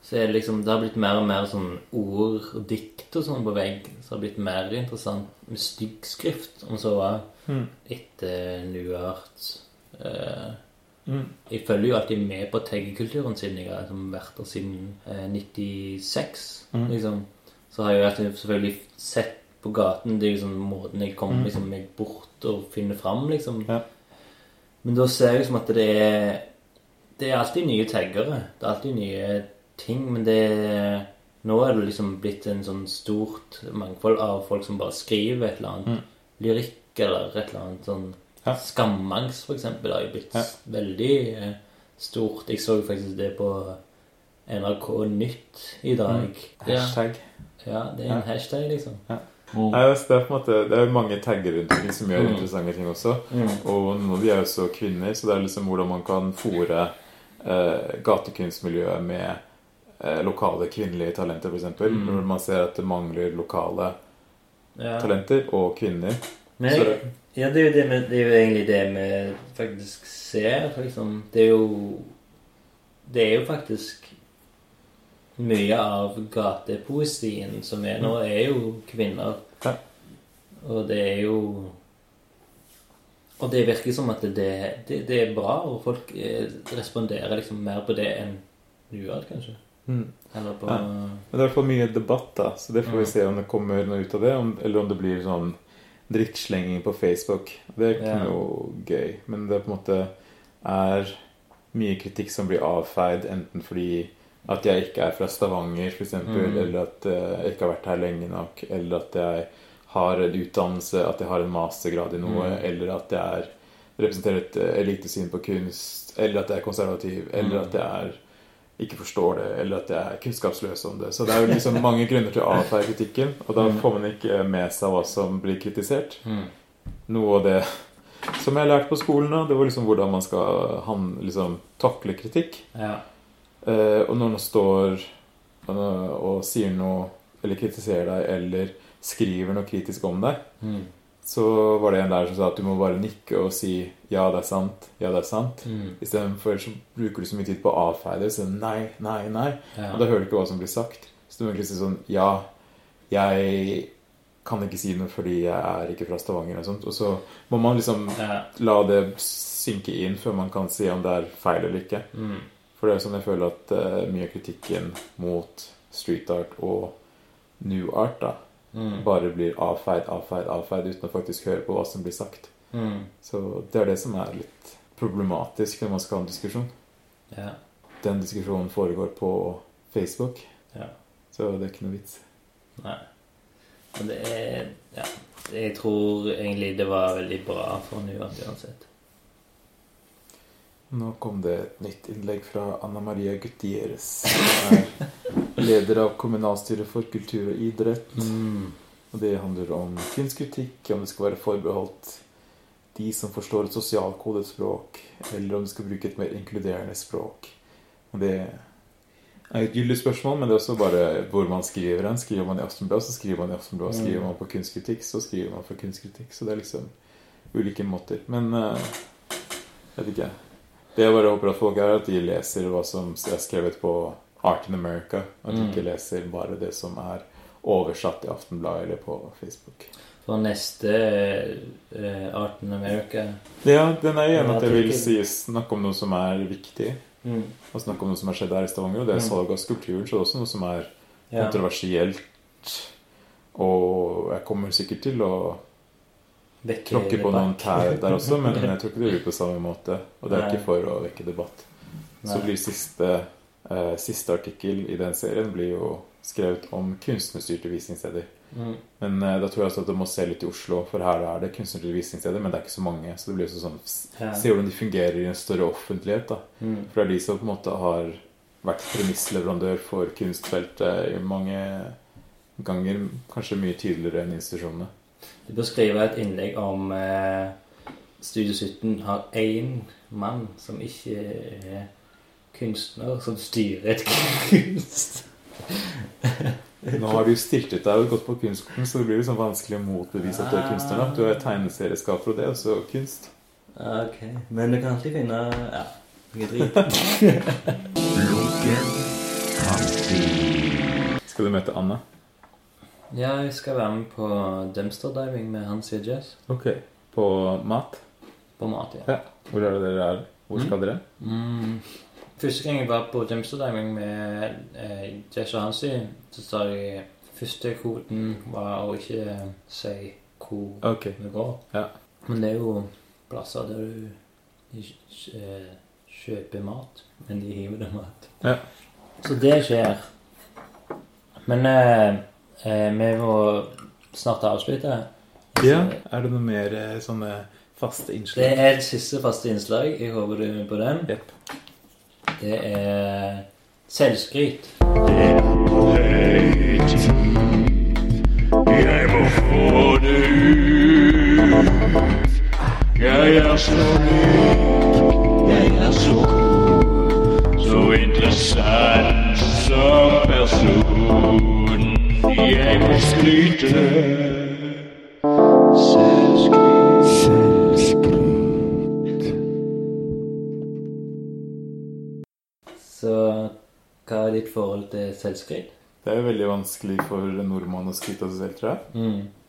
så er det liksom Det har blitt mer og mer sånn ord og dikt og sånn på vegg som har blitt mer interessant med stygg skrift, om så var Mm. etter New Art. Eh, Mm. jeg følger jo alltid med på taggekulturen siden jeg har liksom vært der siden eh, 96. Mhm. Liksom. Så har jeg jo alltid selvfølgelig sett på gaten. Det er liksom måten jeg kommer liksom, meg bort og finner fram, liksom. Ja. Men da ser jeg liksom at det er Det er alltid nye taggere. Det er alltid nye ting, men det er Nå er det liksom blitt en sånn stort mangfold av folk som bare skriver et eller annet. Lyrikk eller et eller annet sånn Ja. Skamangst, for eksempel, har jo blitt Ja. veldig eh, stort. Jeg så faktisk det på NRK Nytt i dag. Ja. Hashtag. Mm. ja, det er en hashtag, liksom. Nei, altså, det er på en måte Det er jo mange tagger rundt omkring som gjør Mm. interessante ting også. Mm. Og noen av de er jo også kvinner, så det er liksom hvordan man kan fòre eh, gatekunstmiljøet med eh, lokale kvinnelige talenter, f.eks. eksempel Mm. Når man ser at det mangler lokale Ja. talenter og kvinner. Men Så jeg, det- ja, det er, jo det, med, det er jo egentlig det vi faktisk ser, liksom. Det er jo Det er jo faktisk mye av gatepoesien som er nå, er jo kvinner. Mm. Ja. Og det er jo Og det virker som at det, det, det er bra, og folk eh, responderer liksom mer på det enn Nuad, kanskje. Mm. Eller på Men det er i hvert fall mye debatt, da, så det får vi Mm. se om det kommer noe ut av det. Om, eller om det blir sånn drittslenging på Facebook. Det er ikke Ja. noe gøy. Men det er på en måte er mye kritikk som blir avfeid, enten fordi at jeg ikke er fra Stavanger, f.eks., eksempel, Mm. eller at eh, jeg ikke har vært her lenge nok, eller at jeg har en utdannelse, at jeg har en mastergrad i noe, Mm. eller at jeg er, representerer et eh, elitesyn på kunst, eller at jeg er konservativ, eller Mm. at jeg er ikke forstår det, eller at jeg er kunnskapsløs om det. Så det er jo liksom mange grunner til å avfeie kritikken, og da Mm. får man ikke med seg hva som blir kritisert. Mm. Noe av det som jeg har lært på skolen, da, det var liksom hvordan man skal han, liksom, takle kritikk. Ja. Eh, og når noen står eh, og sier noe, eller kritiserer deg, eller skriver noe kritisk om deg, Mm. så var det en lærer som sa at du må bare nikke og si 'ja, det er sant', 'ja, det er sant'. Mm. Istedenfor så bruker du så mye tid på å avfeie det. Så nei, nei, nei. Ja. Og da hører du ikke hva som blir sagt. Så du må egentlig si sånn Ja, jeg kan ikke si noe fordi jeg er ikke fra Stavanger og sånt. Og så må man liksom ja. la det synke inn før man kan si om det er feil eller ikke. Mm. For det er sånn jeg føler at eh, mye av kritikken mot street art og new art da, Mm. bare blir avfeid, avfeid, avfeid uten å faktisk høre på hva som blir sagt. Mm. Så det er det som er litt problematisk når man skal ha en diskusjon. Ja. Den diskusjonen foregår på Facebook, Ja. så det er ikke noe vits. Nei. Men det er Ja. Jeg tror egentlig det var veldig bra for Nuad uansett. Nå kom det et nytt innlegg fra Anna Maria Gutierrez, som er leder av kommunalstyret for kultur og idrett. Mm. Og det handler om kunstkritikk, om det skal være forbeholdt de som forstår et sosialkodet språk, eller om du skal bruke et mer inkluderende språk. Og det er et gyldig spørsmål, men det er også bare hvor man skriver den. Skriver man i Aftenbladet, så skriver man i Aftenbladet. Mm. Skriver man på kunstkritikk, så skriver man for kunstkritikk. Så det er liksom ulike måter. Men eh, jeg vet ikke. Det jeg bare håper at folk er, at de leser hva som er skrevet på Art in America. At de Mm. ikke leser bare det som er oversatt i Aftenbladet eller på Facebook. For neste eh, Art in America Ja, den er jo enig at jeg vil Artikkel. si, snakke om noe som er viktig. mm. Og snakke om noe som har skjedd her i Stavanger. Og det er Mm. salg av skulpturer. Så det er også noe som er ja. kontroversielt. Og jeg kommer sikkert til å Vekke tråkke på debatt. noen tær der også, [LAUGHS] men jeg tror ikke det blir på samme måte. Og det er Nei. ikke for å vekke debatt. Så Nei. blir siste, eh, siste artikkel i den serien blir jo skrevet om kunstnerstyrte visningssteder. mm. Men eh, da tror jeg også at du må se litt i Oslo, for her er det kunstnerstyrte visningssteder, men det er ikke så mange. Så det blir også sånn ja. Se hvordan de fungerer i en større offentlighet, da. Mm. For det er de som på en måte har vært premissleverandør for kunstfeltet i mange ganger, kanskje mye tydeligere enn institusjonene. Du bør skrive et innlegg om eh, Studio 17 har én mann som ikke er kunstner, som styrer et [LAUGHS] kunst. [LAUGHS] Nå har du stiltet deg og gått på kunsten, så det blir liksom vanskelig å motbevise at du er kunstner. da. Du er tegneserieskaper, og det er også kunst. Ok, men du kan alltid finne Ja, noe drit. Lunken kampstil. Skal du møte Anna? Ja, jeg skal være med på dumpster diving med Hans Jazz. Ok. På mat? På mat, ja. Ja. Hvor er det dere er? Hvor skal dere? Mm. Første gang jeg var på dumpster diving med eh, Jess og Hansi, så sa de første koden var å ikke si hvor Ok. vi går. Ja. Men det er jo plasser der du ikke, eh, kjøper mat, men de hiver deg mat. Ja. Så det skjer. Men eh, eh, vi må snart avslutte. Ja. Er det noe mer eh, sånne faste Det innslag? er et siste faste innslag. Jeg håper du er med på den. Jepp. Det er selvskryt. Jeg må få det ut. Jeg er så rik, jeg er så cool, så interessant som person. Jeg må skryte. Selvskryt. Så Hva er ditt forhold til selvskritt? Det er jo veldig vanskelig for en nordmann å skryte av seg selv, tror jeg.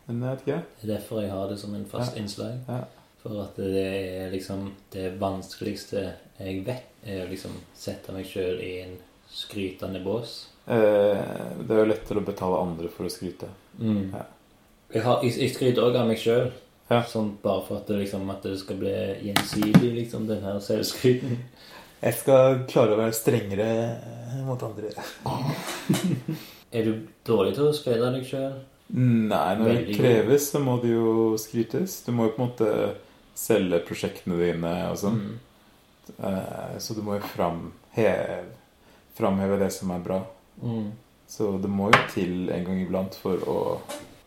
Men jeg vet ikke. Det er derfor jeg har det som en fast innslag. Ja. For at det er liksom det vanskeligste jeg vet, er å liksom sette meg sjøl i en skrytende bås. Eh, det er jo lettere å betale andre for å skryte. Ja. Jeg, har, jeg, jeg skryter òg av meg sjøl. Mm. Ja. Sånn bare for at det, liksom, at det skal bli gjensidig, liksom, den her selvskryten. Jeg skal klare å være strengere eh, mot andre. Er du dårlig til å skryte av deg sjøl? Nei, når Veldig det kreves, så må det jo skrytes. Du må jo på en måte selge prosjektene dine og sånn. Eh, så du må jo framheve, framheve det som er bra. Mm. Så det må jo til en gang iblant for å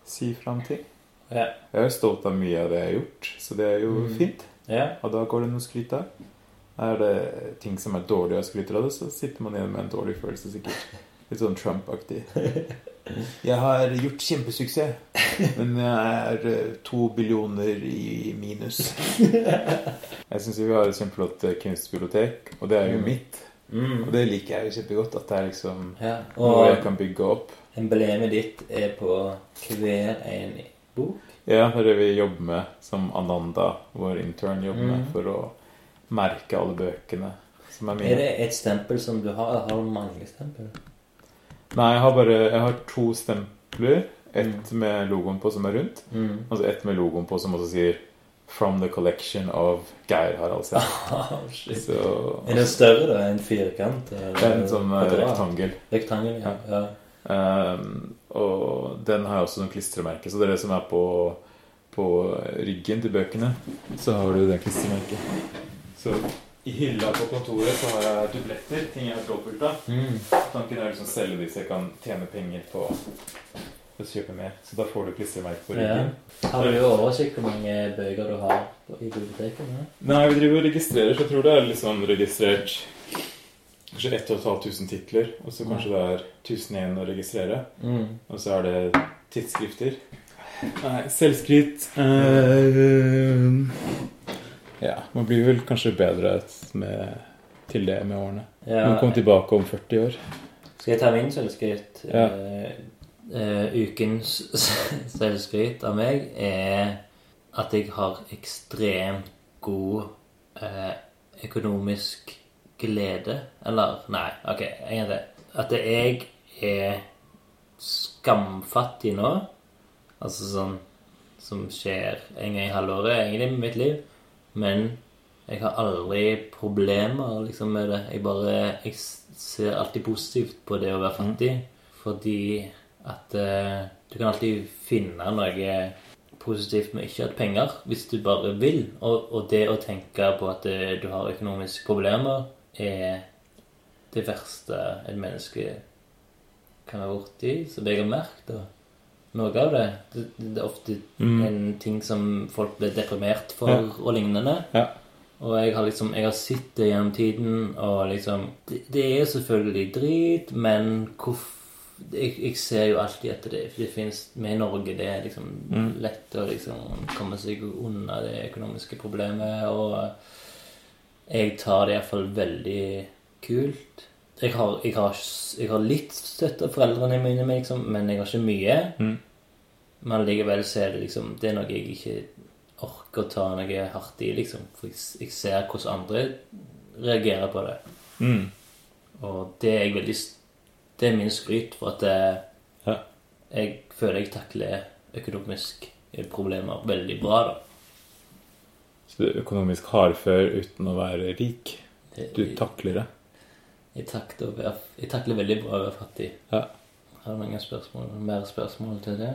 si fram ting. Ja. Jeg er jo stolt av mye av det jeg har gjort, så det er jo Mm. fint. ja. Og da går det noe å skryte av. Er det ting som er dårlig og skryter av det, så sitter man igjen med en dårlig følelse, sikkert. Litt sånn Trump-aktig. Jeg har gjort kjempesuksess, men jeg er eh, to billioner i minus. Jeg syns vi har et kjempeflott eh, kunstbibliotek, og det er jo Mm. mitt. Og Mm. det liker jeg jo kjempegodt, at det er liksom ja. noe jeg Og kan bygge opp. emblemet ditt er på hver en bok. Ja, det er det vi jobber med, som Ananda, vår intern, jobber med Mm. for å merke alle bøkene som er mine. Er det et stempel som du har? Har du mange stempel? Nei, jeg har bare jeg har to stempler. Ett Mm. med logoen på som er rundt, Mm. og så ett med logoen på som også sier 'From the collection of Geir Haraldsen'. Ah, Shit. Så er den større da enn firkant? det er en sånn eh, rektangel. rektangel. Ja. ja. Ehm, og den har jeg også som klistremerke. Så det er det som er på, på ryggen til bøkene. Så har du det klistremerket. Så i hylla på kontoret så har jeg dubletter. Ting jeg har trådfullt av. Mm. Tanken er liksom å selge de så jeg kan tjene penger på å kjøpe mer. Så da får du klistremerke på Ja. ryggen. Har du oversikt hvor mange bøker du har på- i biblioteket? nå? Nei, vi driver og registrerer, så jeg tror det er liksom registrert kanskje 1500 titler. Og så kanskje det er 1000 igjen å registrere. Mm. Og så er det tidsskrifter. Nei, selvskryt eh, Ja, man blir vel kanskje bedre med, til det med årene. Man Ja. kommer tilbake om 40 år. Skal jeg ta min selvskryt? Ja. Eh, eh, ukens [LAUGHS] selvskryt av meg er at jeg har ekstremt god eh, økonomisk glede. Eller Nei, OK, en gang til. At jeg er skamfattig nå, altså sånn som skjer en gang i halvåret egentlig med mitt liv, men jeg har aldri problemer liksom, med det. Jeg bare jeg ser alltid positivt på det å være fattig. Fordi at eh, du kan alltid finne noe positivt med ikke å ha penger, hvis du bare vil. Og, og det å tenke på at eh, du har økonomiske problemer, er det verste et menneske kan være borti. Som jeg har merket. da. Noe av det. Det, det er ofte en ting som folk blir deprimert for, Mm. Ja. og lignende. Ja. Og jeg har liksom, jeg har sett det gjennom tiden, og liksom Det, det er selvfølgelig drit, men hvorf, jeg, jeg ser jo alltid etter det. For det fins med i Norge, det er liksom lett å liksom komme seg unna det økonomiske problemet. Og jeg tar det iallfall veldig kult. Jeg har, jeg, har, jeg har litt støtte av foreldrene mine, men liksom, men jeg har ikke mye. Mm. Men likevel så er det liksom Det er noe jeg ikke orker å ta noe hardt i, liksom. For jeg, s- jeg ser hvordan andre reagerer på det. Mm. Og det er jeg veldig s- Det er min skryt for at eh, Ja. jeg føler jeg takler økonomiske problemer veldig bra, da. Så du er økonomisk hardfør uten å være rik. Jeg, Du takler det. jeg, takler, å være- jeg takler veldig bra å være fattig. Ja. Har du noen spørsmål, mer spørsmål til det?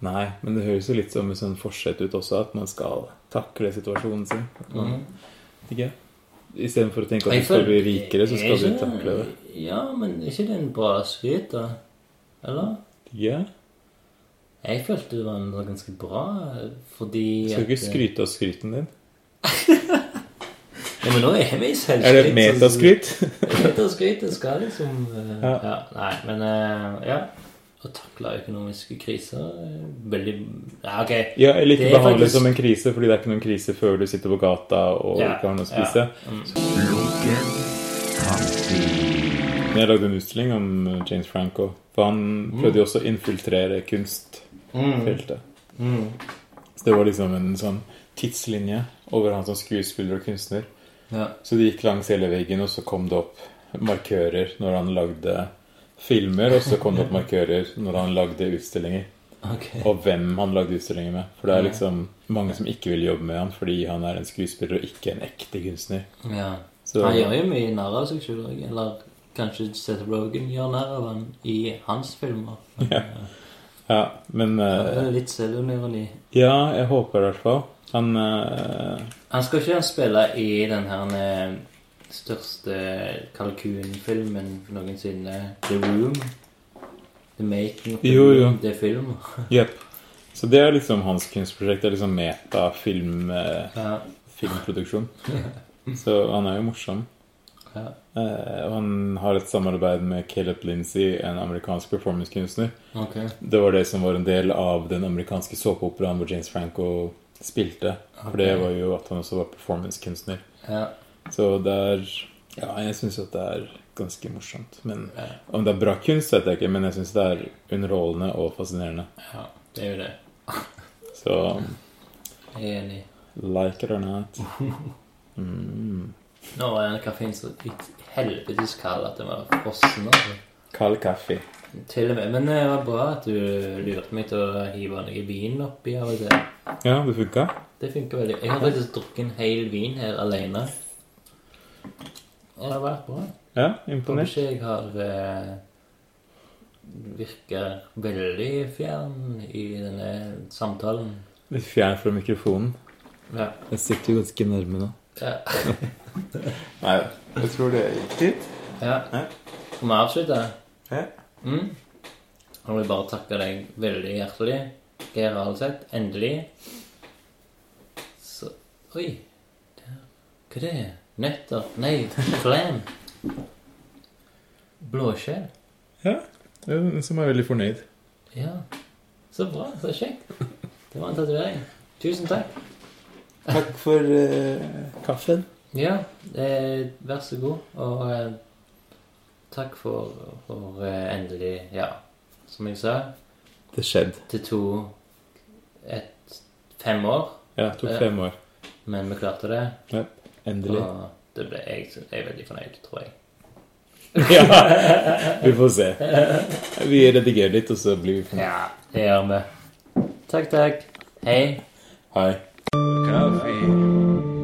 Nei, men det høres jo litt som en sånn forsett ut også, at man skal takle situasjonen sin. At man- Mhm. Ikke? Istedenfor å tenke at Jeg du skal føler- bli rikere, så er skal du ikke- takle det. Ja, men er ikke det en bra skryt, da? Eller? Ikke? Jeg følte det var en- var ganske bra, fordi Du skal at- ikke skryte av skryten din. Ja, men nå er vi i selvskryt. Er det så- metaskryt? Metaskryt, det skal liksom eh, Ja. ja. Nei, men eh, ja. Å takle økonomiske kriser er veldig Ja, OK. Ja, eller ikke Det er behandle det faktisk- som en krise, fordi det er ikke noen krise før du sitter på gata og Ja, ikke har noe å spise. Mm. Lunken kaffe. Jeg lagde en utstilling om eh, James Franco. For han prøvde jo også å infiltrere kunstfeltet. Mm. Så det var liksom en sånn tidslinje over han som skuespiller og kunstner. Ja. Så det gikk langs hele veggen, og så kom det opp markører når han lagde filmer, og så kom det opp markører når han lagde utstillinger. Ok. Og hvem han lagde utstillinger med. For det er liksom mange som ikke vil jobbe med han fordi han er en skuespiller og ikke en ekte kunstner. Ja. Så- Han gjør jo mye narr av seg selv òg. Eller kanskje Seth Rogan gjør narr av han i hans filmer. Ja, men Det eh, er litt selvironi. Ja, jeg håper det i hvert fall. Han eh, Han skal ikke spille i den her eh, største kalkunfilmen noensinne. The Room. The Making of the Jo, jo. Room. Det er film. Jepp. Så det er liksom hans kunstprosjekt. Det er liksom metafilm eh, Ja. filmproduksjon. Så han er jo morsom. Ja. Eh, og han har et samarbeid med Caleb Lindsey, en amerikansk performancekunstner. Ok. Det var det som var en del av den amerikanske såpeoperaen hvor James Franco spilte. For det Ok. var jo at han også var performancekunstner. Ja. Så det er Ja, jeg syns at det er ganske morsomt. Men Ja. om det er bra kunst, vet jeg ikke, men jeg syns det er underholdende og fascinerende. ja. Det er jo det. Så Jeg er enig. like it or not. Mm. Nå er den kaffen så i helvetes kald at den var frossen. Altså. Kald kaffe. Til og med. Men eh, det var bra at du lurte meg til å hive noe vin oppi av og til. Ja, det funka? Det funker veldig. Jeg har faktisk drukket en hel vin her alene. Det har vært bra. Ja, Om imponert. ikke jeg har eh, virker veldig fjern i denne samtalen. Litt fjern fra mikrofonen. Ja. Jeg sitter jo ganske nærme nå. Ja. Nei, jeg tror det gikk fint. ja. Ja. Skal vi avslutte? Ja. Mm. Jeg vil bare takke deg veldig hjertelig, Geir Alseth. Endelig. Så Oi. Der. Hva er det? Nøtter? Nei, flam. Blåskjell? Ja, det er den som er veldig fornøyd. Ja. Så bra. Så kjekt. Det var en tatovering. Tusen takk. Takk for eh, kaffen. Ja, eh, vær så god. Og eh, takk for, for eh, endelig Ja, som jeg sa, Det skjedde. det tok et, fem år. Ja, det tok Ja. fem år. Men vi klarte det, Ja, endelig. og det ble jeg, jeg er veldig fornøyd, tror jeg. Ja, vi får se. Vi redigerer litt, og så blir vi fornøyd. Ja, det gjør vi. Takk, takk. Hei. Hei. Kaffe.